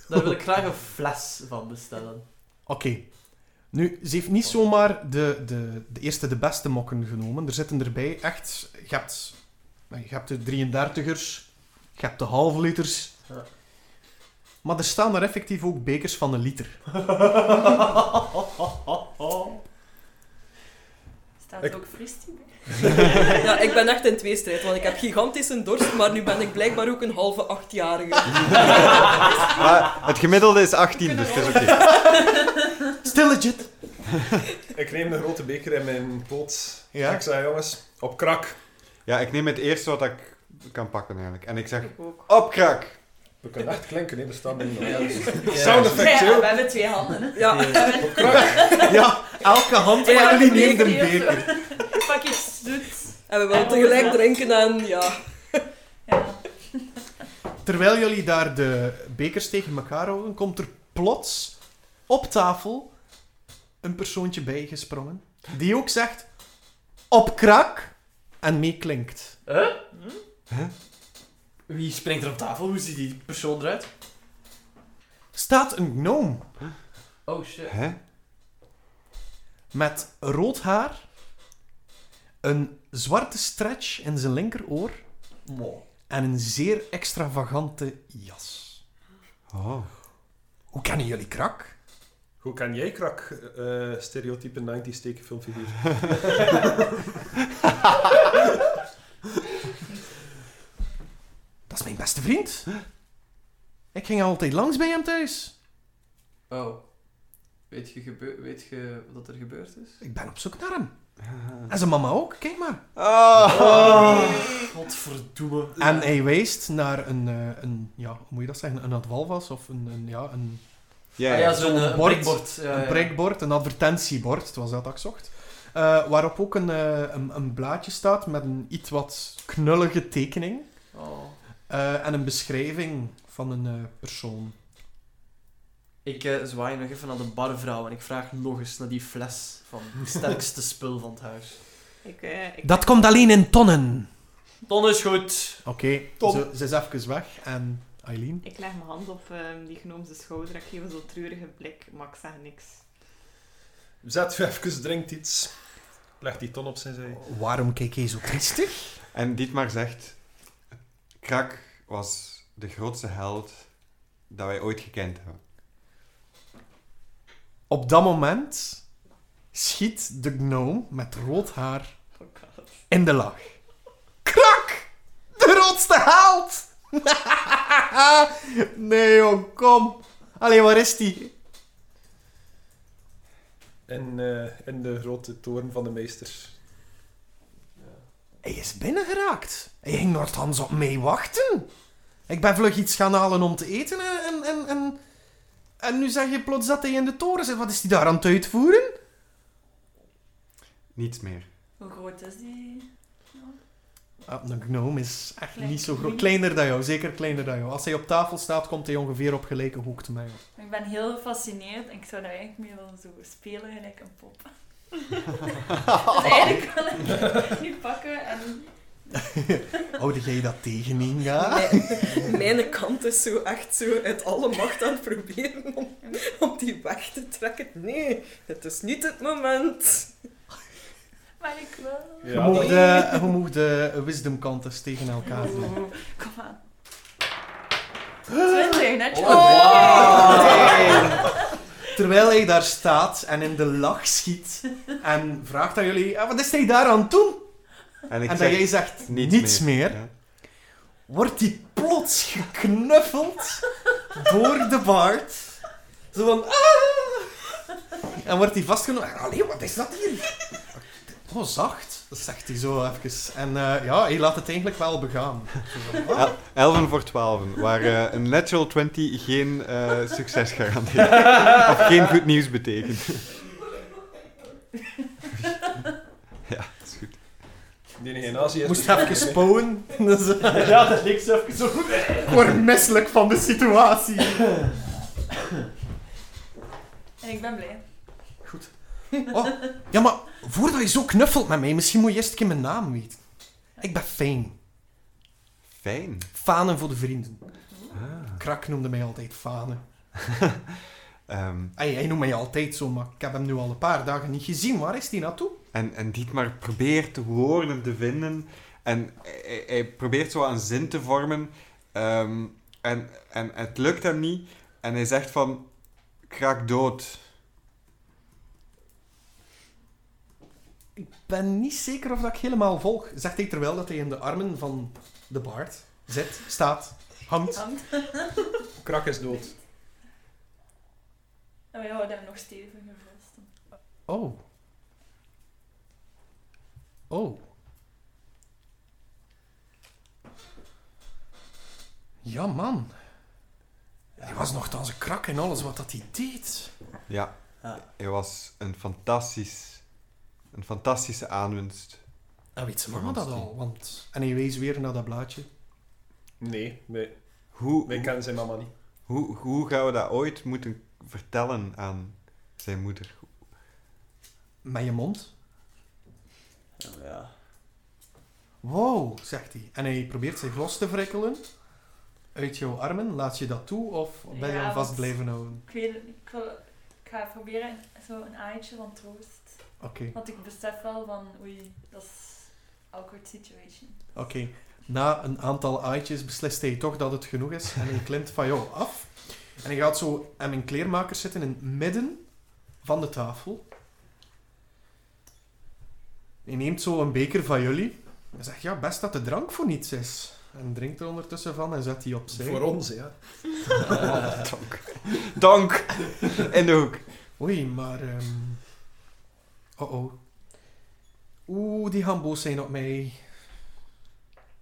Speaker 5: Daar wil ik graag een fles van bestellen.
Speaker 6: Oké. Nu, ze heeft niet zomaar de, de, de eerste, de beste mokken genomen. Er zitten erbij echt... Je hebt, nou, je hebt de 33ers, je hebt de halfliters.
Speaker 5: Ja.
Speaker 6: Maar er staan er effectief ook bekers van een
Speaker 1: (laughs)
Speaker 6: liter.
Speaker 2: Staat
Speaker 6: Ik-
Speaker 2: er ook fristie bij?
Speaker 4: Ja, ik ben echt in tweestrijd, want ik heb gigantische dorst, maar nu ben ik blijkbaar ook een halve achtjarige.
Speaker 3: Maar het gemiddelde is 18, dus het is oké.
Speaker 6: Still legit.
Speaker 1: Ik neem de grote beker in mijn poot.
Speaker 6: Ja.
Speaker 1: Ik zei, jongens, op krak.
Speaker 3: Ja, ik neem het eerste wat ik kan pakken eigenlijk. En ik zeg,
Speaker 7: Ik ook.
Speaker 3: op krak!
Speaker 1: We kunnen echt klinken, nee, bestaan niet.
Speaker 5: (laughs) Ja, dus-
Speaker 1: Sound
Speaker 5: ja.
Speaker 1: effect, joh.
Speaker 2: we hebben twee handen. Hè.
Speaker 4: Ja,
Speaker 1: Op krak.
Speaker 6: Ja, elke hand
Speaker 4: Ja,
Speaker 6: van jullie
Speaker 2: de
Speaker 6: neemt een
Speaker 2: beker.
Speaker 6: beker.
Speaker 2: Pak iets doet.
Speaker 4: en we willen tegelijk drinken en ja.
Speaker 2: Ja.
Speaker 6: Terwijl jullie daar de bekers tegen elkaar houden, komt er plots op tafel een persoontje bijgesprongen. Die ook zegt, op krak, en meeklinkt.
Speaker 5: Huh? Wie springt er op tafel? Hoe ziet die persoon eruit?
Speaker 6: Staat een gnome
Speaker 5: Oh shit.
Speaker 3: Hè?
Speaker 6: met rood haar, een zwarte stretch in zijn linkeroor
Speaker 5: Mo.
Speaker 6: en een zeer extravagante jas.
Speaker 3: Oh.
Speaker 6: Hoe kennen jullie krak?
Speaker 1: Hoe kan jij krak eh stereotype 90s tekenfilmfiguur?
Speaker 6: Dat is mijn beste vriend. Ik ging altijd langs bij hem thuis.
Speaker 5: Oh. Weet je, gebeur- weet je wat er gebeurd is?
Speaker 6: Ik ben op zoek naar hem. En zijn mama ook, kijk maar.
Speaker 5: Ah. Oh.
Speaker 6: Ah,
Speaker 5: Godverdomme.
Speaker 6: En hij wijst naar een, eh, een ja, hoe moet je dat zeggen, een advalvas of een, een, ja, een,
Speaker 3: Ja,
Speaker 5: Ah,
Speaker 3: ja.
Speaker 5: ja, zo'n eh,
Speaker 6: bord.
Speaker 5: prikbord. Ja,
Speaker 6: een
Speaker 5: ja.
Speaker 6: prikbord, een advertentiebord, het was dat dat ik zocht. Eh, waarop ook een, eh, een, een blaadje staat met een iets wat knullige tekening
Speaker 5: Oh.
Speaker 6: eh, en een beschrijving van een eh, persoon.
Speaker 5: Ik eh, zwaai nog even naar de barvrouw en ik vraag nog eens naar die fles van
Speaker 1: (laughs)
Speaker 5: het sterkste spul van het huis.
Speaker 7: Ik, eh, ik,
Speaker 6: Dat komt alleen in tonnen.
Speaker 5: Ton is goed.
Speaker 6: Oké,
Speaker 5: Ton.
Speaker 6: ze, ze is even weg en Eileen.
Speaker 7: ik leg mijn hand op ehm, die genoemde schouder. Ik geef een zo treurige blik, maar ik zeg niks.
Speaker 1: Zet u even, drinkt iets. Legt die ton op zijn zij.
Speaker 6: Waarom kijk jij zo triestig?
Speaker 3: En Dietmar zegt, krak was de grootste held dat wij ooit gekend hebben.
Speaker 6: Op dat moment schiet de gnome met rood haar
Speaker 7: Oh god.
Speaker 6: in de lach. Krak! De roodste haalt! (laughs) nee, jong, kom. Allee, waar is die?
Speaker 1: In, eh, in de grote toren van de meesters.
Speaker 6: Hij is binnengeraakt. Hij ging nochtans op mij wachten. Ik ben vlug iets gaan halen om te eten en, en, en, en, en nu zeg je plots dat hij in de toren zit. Wat is die daar aan het uitvoeren?
Speaker 3: Niets meer.
Speaker 2: Hoe groot is die?
Speaker 6: Ah, een gnome is echt
Speaker 2: Klein.
Speaker 6: niet zo groot. Kleiner dan jou, zeker kleiner dan jou. Als hij op tafel staat, komt hij ongeveer op gelijke hoogte met jou.
Speaker 2: Ik ben heel gefascineerd en ik zou daar eigenlijk mee willen zo spelen, gelijk een pop. dus eigenlijk wil ik die pakken en...
Speaker 6: Houde jij dat tegen, Inga?
Speaker 5: Ah.
Speaker 4: Mijn, (laughs) mijn kant is zo echt zo uit alle macht aan het proberen om, om die weg te trekken. Nee, het is niet het moment.
Speaker 2: Maar ik
Speaker 1: Ja,
Speaker 2: wil...
Speaker 6: Je
Speaker 1: dat-
Speaker 6: mag de, je mag de wisdom contest tegen elkaar doen.
Speaker 2: Kom aan. 20, netjes. Oh.
Speaker 6: Terwijl hij daar staat en in de lach schiet en vraagt aan jullie, "Ah, wat is hij daar aan het doen?
Speaker 3: En ik
Speaker 6: en dat
Speaker 3: zeg,
Speaker 6: jij zegt niets,
Speaker 3: niets,
Speaker 6: meer,
Speaker 3: Ja.
Speaker 6: wordt hij plots geknuffeld door de baard. Zo van, "Ah!" En wordt hij vastgenomen. Allee, wat is dat hier? Oh, zacht. Dat zegt hij zo even. En eh, ja, hij laat het eigenlijk wel begaan. Zo van, "Ah."
Speaker 3: El- 11 voor 12, waar eh, een natural 20 geen eh, succes (laughs) garandeert. of geen goed nieuws betekent. ja, dat is goed.
Speaker 1: Die in Azië is
Speaker 6: Moest
Speaker 1: dus-
Speaker 5: (laughs)
Speaker 6: even spowen. Dus-
Speaker 5: Ja, dat lijkt zo even zo
Speaker 6: Ik word misselijk van de situatie.
Speaker 2: En ik ben blij.
Speaker 6: Oh, Ja, maar voordat je zo knuffelt met mij, misschien moet je eerst een keer mijn naam weten. Ik ben Fijn.
Speaker 3: Fijn.
Speaker 6: Fanen voor de vrienden.
Speaker 3: Ah.
Speaker 6: Krak noemde mij altijd Fanen.
Speaker 3: Ehm,
Speaker 6: Hey, hij noemt mij altijd zo, maar ik heb hem nu al een paar dagen niet gezien. Waar is die naartoe?
Speaker 3: En, en Dietmar probeert de woorden te vinden. En hij, hij probeert zo een zin te vormen. Ehm, en, en het lukt hem niet. En hij zegt van... Ik raak dood.
Speaker 6: Ik ben niet zeker of dat ik helemaal volg. Zegt hij terwijl dat hij in de armen van de baard zit, staat, hangt.
Speaker 2: Hand.
Speaker 1: Krak is dood.
Speaker 2: En wij houden hem nog steviger vast.
Speaker 6: Oh. Oh. Ja, man. Hij was nogthans een krak in alles wat dat hij deed.
Speaker 3: Ja, hij was een fantastisch... Een fantastische aanwinst.
Speaker 5: Ah,
Speaker 6: En weet ze
Speaker 3: Voor
Speaker 6: mama
Speaker 3: ons
Speaker 6: dat
Speaker 3: die.
Speaker 6: al? Want... En hij wees weer naar dat blaadje.
Speaker 1: Nee, nee.
Speaker 3: Hoe,
Speaker 1: Wij
Speaker 3: hoe,
Speaker 1: kennen zijn mama niet.
Speaker 3: hoe, hoe gaan we dat ooit moeten vertellen aan zijn moeder?
Speaker 6: Met je mond.
Speaker 5: Ja.
Speaker 6: Wow, zegt hij. En hij probeert zich los te wrikkelen. Uit jouw armen. Laat je dat toe of ben je
Speaker 2: Ja,
Speaker 6: hem vast
Speaker 2: want-
Speaker 6: blijven houden?
Speaker 2: Ik weet het niet. Ik, wil, ik ga proberen zo een aaitje van troost.
Speaker 6: Oké,
Speaker 2: Want ik besef wel van, oei, dat is awkward situation.
Speaker 6: oké. Na een aantal aaitjes beslist hij toch dat het genoeg is. En hij klimt van jou af. En hij gaat zo aan mijn kleermaker zitten in het midden van de tafel. Hij neemt zo een beker van jullie. En zegt, ja, best dat de drank voor niets is. En drinkt er ondertussen van en zet die opzij.
Speaker 1: Voor ons, ja.
Speaker 3: Dank. Dank! In de hoek.
Speaker 6: Oei, maar... ehm Oh-oh. Oeh, die gaan boos zijn op mij.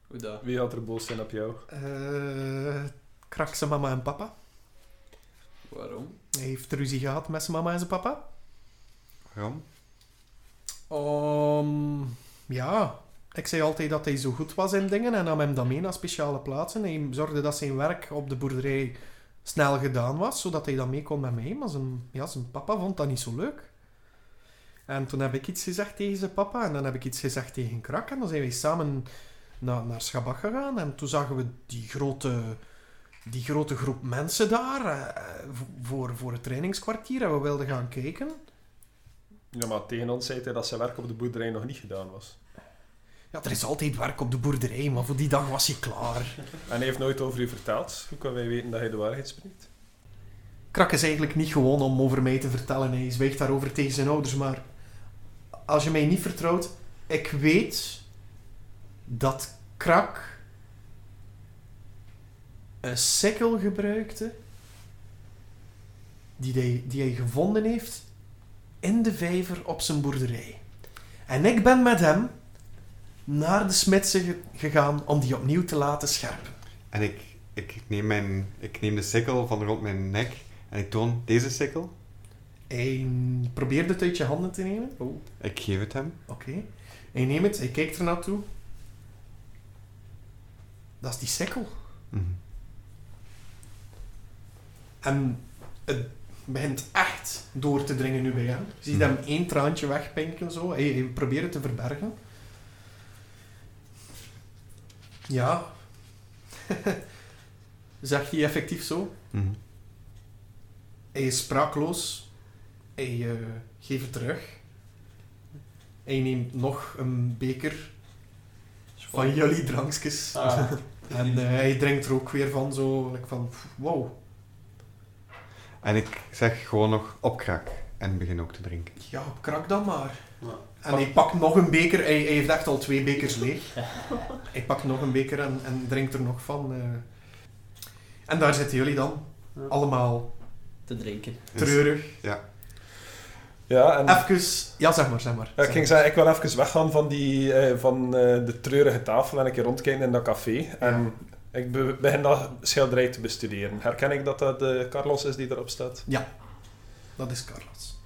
Speaker 5: Hoe dat?
Speaker 1: Wie had er boos zijn op jou?
Speaker 6: Eh krak zijn mama en papa.
Speaker 5: Waarom?
Speaker 6: Hij heeft ruzie gehad met zijn mama en zijn papa.
Speaker 3: Waarom?
Speaker 6: Om Ehm, ja, ik zei altijd dat hij zo goed was in dingen en nam hem dan mee naar speciale plaatsen. Hij zorgde dat zijn werk op de boerderij snel gedaan was, zodat hij dan mee kon met mij. Maar zijn, ja, zijn papa vond dat niet zo leuk. En toen heb ik iets gezegd tegen zijn papa en dan heb ik iets gezegd tegen Krak. En dan zijn wij samen naar, naar Schabach gegaan en toen zagen we die grote, die grote groep mensen daar eh, voor, voor het trainingskwartier en we wilden gaan kijken.
Speaker 1: Ja, maar tegen ons zei hij dat zijn werk op de boerderij nog niet gedaan was.
Speaker 6: Ja, er is altijd werk op de boerderij, maar voor die dag was je klaar.
Speaker 1: En hij heeft nooit over u verteld. Hoe kunnen wij weten dat hij de waarheid spreekt?
Speaker 6: Krak is eigenlijk niet gewoon om over mij te vertellen. Hij zwijgt daarover tegen zijn ouders, maar als je mij niet vertrouwt, ik weet dat Krak een sikkel gebruikte die hij, die hij gevonden heeft in de vijver op zijn boerderij. En ik ben met hem naar de smidse ge- gegaan om die opnieuw te laten scherpen.
Speaker 3: En ik, ik, neem mijn, ik neem de sikkel van rond mijn nek en ik toon deze sikkel.
Speaker 6: Hij probeert het uit je handen te nemen. Oh,
Speaker 3: Ik geef het hem.
Speaker 6: Oké. Hij neemt het, hij kijkt er naartoe. Dat is die sikkel.
Speaker 3: Mhm.
Speaker 6: En het begint echt door te dringen nu bij hem. Je ziet hem één traantje wegpinken zo. Hij, hij probeert het te verbergen. Ja. (laughs) Zegt hij effectief zo.
Speaker 3: Mhm.
Speaker 6: Hij is spraakloos. Hij eh, geeft het terug. Hij neemt nog een beker van jullie drankjes.
Speaker 5: Ah.
Speaker 6: (laughs) En eh, hij drinkt er ook weer van, zo like van, pff, wow.
Speaker 3: En ik zeg gewoon nog opkrak en begin ook te drinken.
Speaker 6: Ja, krak dan maar.
Speaker 5: Ja.
Speaker 6: En hij pakt nog een beker, hij, hij heeft echt al twee bekers
Speaker 5: (laughs)
Speaker 6: leeg. hij pakt nog een beker en, en drinkt er nog van. eh. En daar zitten jullie dan,
Speaker 5: Ja.
Speaker 6: allemaal
Speaker 5: Te drinken.
Speaker 1: Dus-
Speaker 6: treurig.
Speaker 1: Ja, en...
Speaker 6: Even, ja zeg maar, zeg maar.
Speaker 1: Ja, ik ging zeggen, ik wil even weggaan van, die, eh, van eh, de treurige tafel en een keer rondkijken in dat café. En ik be- begin dat schilderij te bestuderen. Herken ik dat dat de Carlos is die erop staat?
Speaker 6: Dat is Carlos.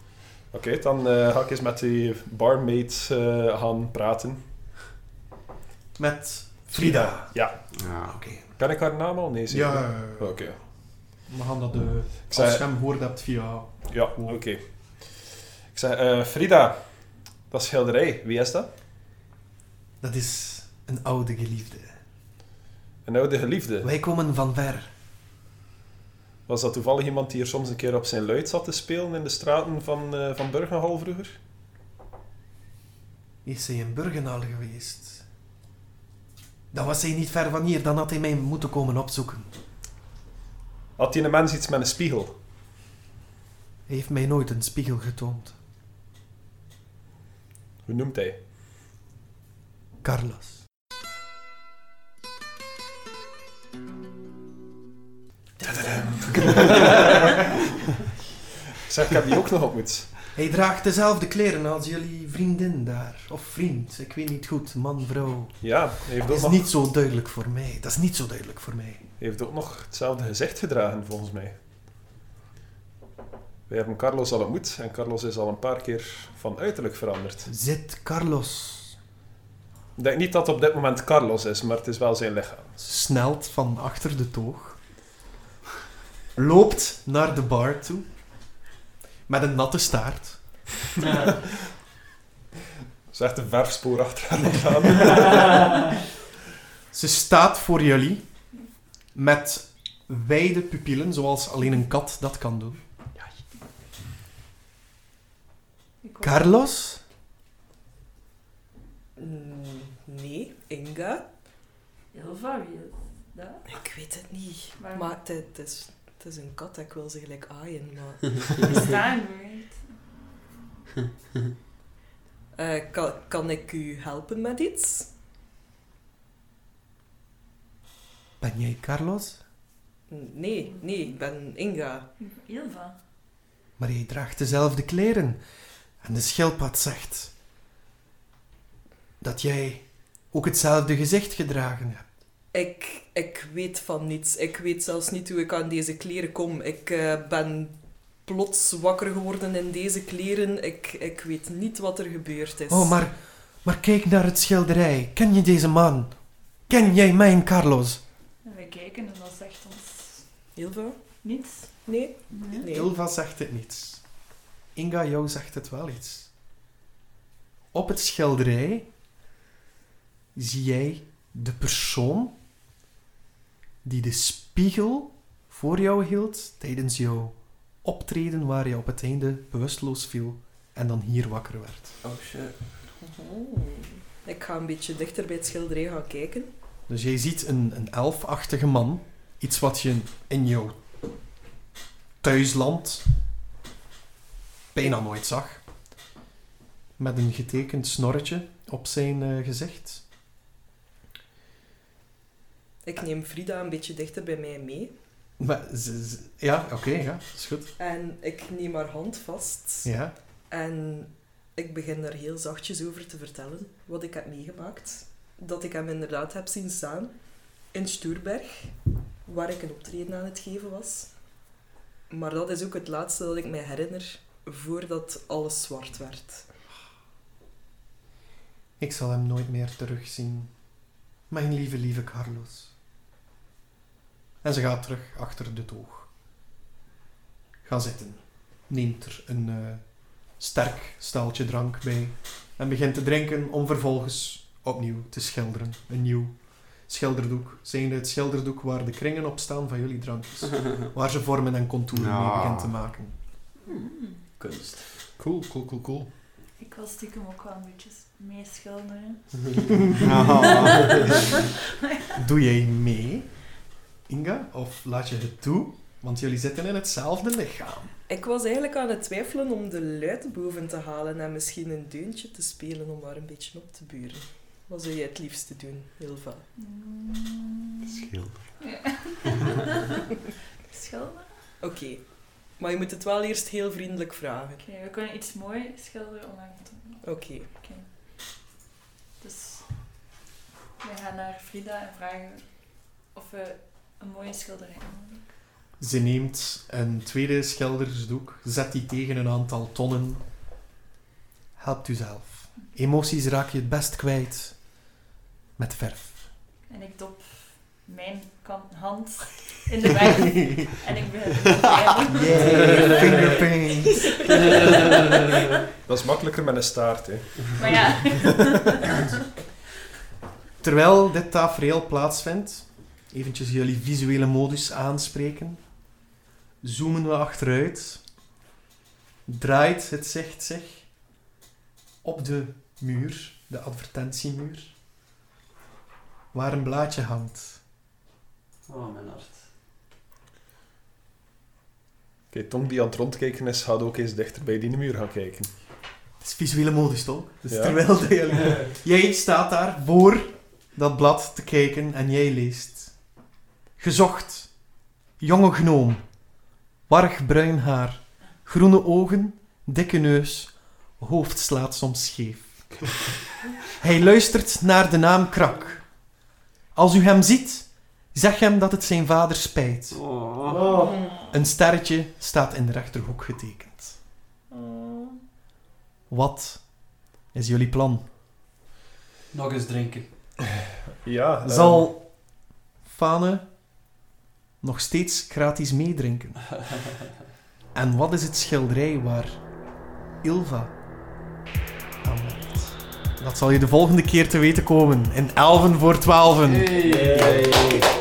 Speaker 1: Oké, dan eh, ga ik eens met die barmaid eh, gaan praten.
Speaker 6: Met Frida.
Speaker 3: Ja.
Speaker 6: Oké.
Speaker 1: Kan ik haar naam al? Nee, zeker?
Speaker 6: Ja,
Speaker 1: Oké.
Speaker 6: we gaan dat, eh
Speaker 1: Oh. Ik
Speaker 6: als je
Speaker 1: zei,
Speaker 6: hem hoort hebt via...
Speaker 1: ja, oké. Ik zei, eh, Frida, dat schilderij, wie is dat?
Speaker 6: Dat is een oude geliefde.
Speaker 1: Een oude geliefde.
Speaker 6: Wij komen van ver.
Speaker 1: Was dat toevallig iemand die er soms een keer op zijn luid zat te spelen in de straten van, eh van Burgenhal vroeger?
Speaker 6: Is hij in Burgenal geweest? Dan was hij niet ver van hier, dan had hij mij moeten komen opzoeken.
Speaker 1: Had die een mens iets met een spiegel?
Speaker 6: Hij heeft mij nooit een spiegel getoond.
Speaker 1: Hoe noemt hij?
Speaker 6: Carlos.
Speaker 1: Zeg, ik heb die ook nog ontmoet.
Speaker 6: Hij draagt dezelfde kleren als jullie vriendin daar. Of vriend, ik weet niet goed. Man, vrouw.
Speaker 1: Ja, hij heeft
Speaker 6: Dat
Speaker 1: ook,
Speaker 6: is
Speaker 1: nog,
Speaker 6: niet zo duidelijk voor mij. Dat is niet zo duidelijk voor mij.
Speaker 1: hij heeft ook nog hetzelfde gezicht gedragen, volgens mij. Wij hebben Carlos al ontmoet en Carlos is al een paar keer van uiterlijk veranderd.
Speaker 6: Zit Carlos
Speaker 1: Ik denk niet dat het op dit moment Carlos is, maar het is wel zijn lichaam.
Speaker 6: snelt van achter de toog, loopt naar de bar toe, met een natte staart.
Speaker 1: Het is echt een verfspoor achter aan het
Speaker 6: (laughs)
Speaker 1: gaan.
Speaker 6: Ze staat voor jullie met wijde pupillen, zoals alleen een kat dat kan doen.
Speaker 2: Ik hoor-
Speaker 6: Carlos?
Speaker 4: Mm, Nee, Inga.
Speaker 2: Heel various. Dat?
Speaker 4: Ik weet het niet.
Speaker 2: Maar,
Speaker 4: Maar het, het is, het is een kat, ik wil ze gelijk aaien. Maar...
Speaker 2: bestaan we niet.
Speaker 4: Eh, kan, kan ik u helpen met iets?
Speaker 6: Ben jij Carlos?
Speaker 4: Nee, nee, ik ben Inga.
Speaker 2: Heel van.
Speaker 6: Maar jij draagt dezelfde kleren. En de schildpad zegt dat jij ook hetzelfde gezicht gedragen hebt.
Speaker 4: Ik, ik weet van niets. Ik weet zelfs niet hoe ik aan deze kleren kom. Ik eh, ben plots wakker geworden in deze kleren. Ik, ik weet niet wat er gebeurd is.
Speaker 6: Oh, maar, maar kijk naar het schilderij. Ken je deze man? Ken jij mijn Carlos?
Speaker 2: En we kijken en dat zegt ons
Speaker 4: Hilva?
Speaker 2: niets.
Speaker 4: Nee?
Speaker 2: Nee.
Speaker 4: Nee.
Speaker 6: Ilva zegt het niet. Inga, jou zegt het wel iets. Op het schilderij zie jij de persoon die de spiegel voor jou hield tijdens jouw optreden waar je op het einde bewusteloos viel en dan hier wakker werd.
Speaker 5: Oh shit.
Speaker 4: Oh. Ik ga een beetje dichter bij het schilderij gaan kijken.
Speaker 6: Dus jij ziet een, een elfachtige man, iets wat je in jouw thuisland bijna nooit zag. Met een getekend snorretje op zijn eh, gezicht.
Speaker 4: Ik neem Frida een beetje dichter bij mij mee.
Speaker 6: Maar ze- ze- ja, oké, ja, is goed.
Speaker 4: En ik neem haar hand vast.
Speaker 6: Ja.
Speaker 4: En ik begin daar heel zachtjes over te vertellen wat ik heb meegemaakt. Dat ik hem inderdaad heb zien staan in Stoerberg, waar ik een optreden aan het geven was. Maar dat is ook het laatste dat ik mij herinner voordat alles zwart werd.
Speaker 6: Ik zal hem nooit meer terugzien. Mijn lieve, lieve Carlos. En ze gaat terug achter de toog. Ga zitten. Neemt er een eh, sterk staaltje drank bij en begint te drinken om vervolgens opnieuw te schilderen. Een nieuw schilderdoek. Zijnde het schilderdoek waar de kringen op staan van jullie drankjes. Waar ze vormen en contouren mee
Speaker 3: Ja.
Speaker 6: begint te maken.
Speaker 5: Kunst.
Speaker 6: Cool, cool, cool, cool.
Speaker 2: Hmm.
Speaker 6: (laughs)
Speaker 2: Ik wil stiekem ook wel een beetje meeschilderen.
Speaker 6: Ah. Doe jij mee, Inga? Of laat je het toe? Want jullie zitten in hetzelfde lichaam.
Speaker 4: Ik was eigenlijk aan het twijfelen om de luid boven te halen en misschien een deuntje te spelen om haar een beetje op te buren. Wat zou jij het liefste doen, Hilva?
Speaker 2: Mm.
Speaker 3: Schilder.
Speaker 2: (laughs) Schilderen?
Speaker 4: Oké, maar je moet het wel eerst heel vriendelijk vragen.
Speaker 2: Oké, we kunnen iets moois schilderen om haar te doen.
Speaker 4: Oké.
Speaker 2: Dus we gaan naar Frida en vragen of we een mooie schilderij hebben.
Speaker 6: Ze neemt een tweede schildersdoek, zet die tegen een aantal tonnen. Helpt u zelf. Emoties raak je het best kwijt met verf.
Speaker 2: En ik dop mijn kant, hand in de weg en ik begin te schrijven.
Speaker 6: Yay, fingerpaint.
Speaker 1: Dat is makkelijker met een staart, hè.
Speaker 2: (laughs) Maar ja,
Speaker 6: Terwijl dit tafereel plaatsvindt, eventjes jullie visuele modus aanspreken. zoomen we achteruit. Draait het zicht zich op de muur, de advertentiemuur, waar een blaadje hangt.
Speaker 5: Oh, mijn hart.
Speaker 1: Tom die aan het rondkijken is, gaat ook eens dichter bij die muur gaan kijken.
Speaker 6: Het is visuele modus, toch? Dus
Speaker 1: Ja.
Speaker 6: terwijl dat jullie- jij staat daar voor dat blad te kijken en jij leest. Gezocht. Jonge gnoom. Warg bruin haar. Groene ogen. Dikke neus. Hoofd slaat soms scheef. Hij luistert naar de naam Krak. Als u hem ziet, zeg hem dat het zijn vader spijt.
Speaker 5: Oh.
Speaker 6: Een sterretje staat in de rechterhoek getekend.
Speaker 2: Oh.
Speaker 6: Wat is jullie plan?
Speaker 5: Nog eens drinken.
Speaker 1: (laughs) Ja, ehm,
Speaker 6: Zal Fane nog steeds gratis meedrinken? En wat is het schilderij waar Ilva aan werkt? Dat zal je de volgende keer te weten komen in 11 voor 12.
Speaker 5: Hey.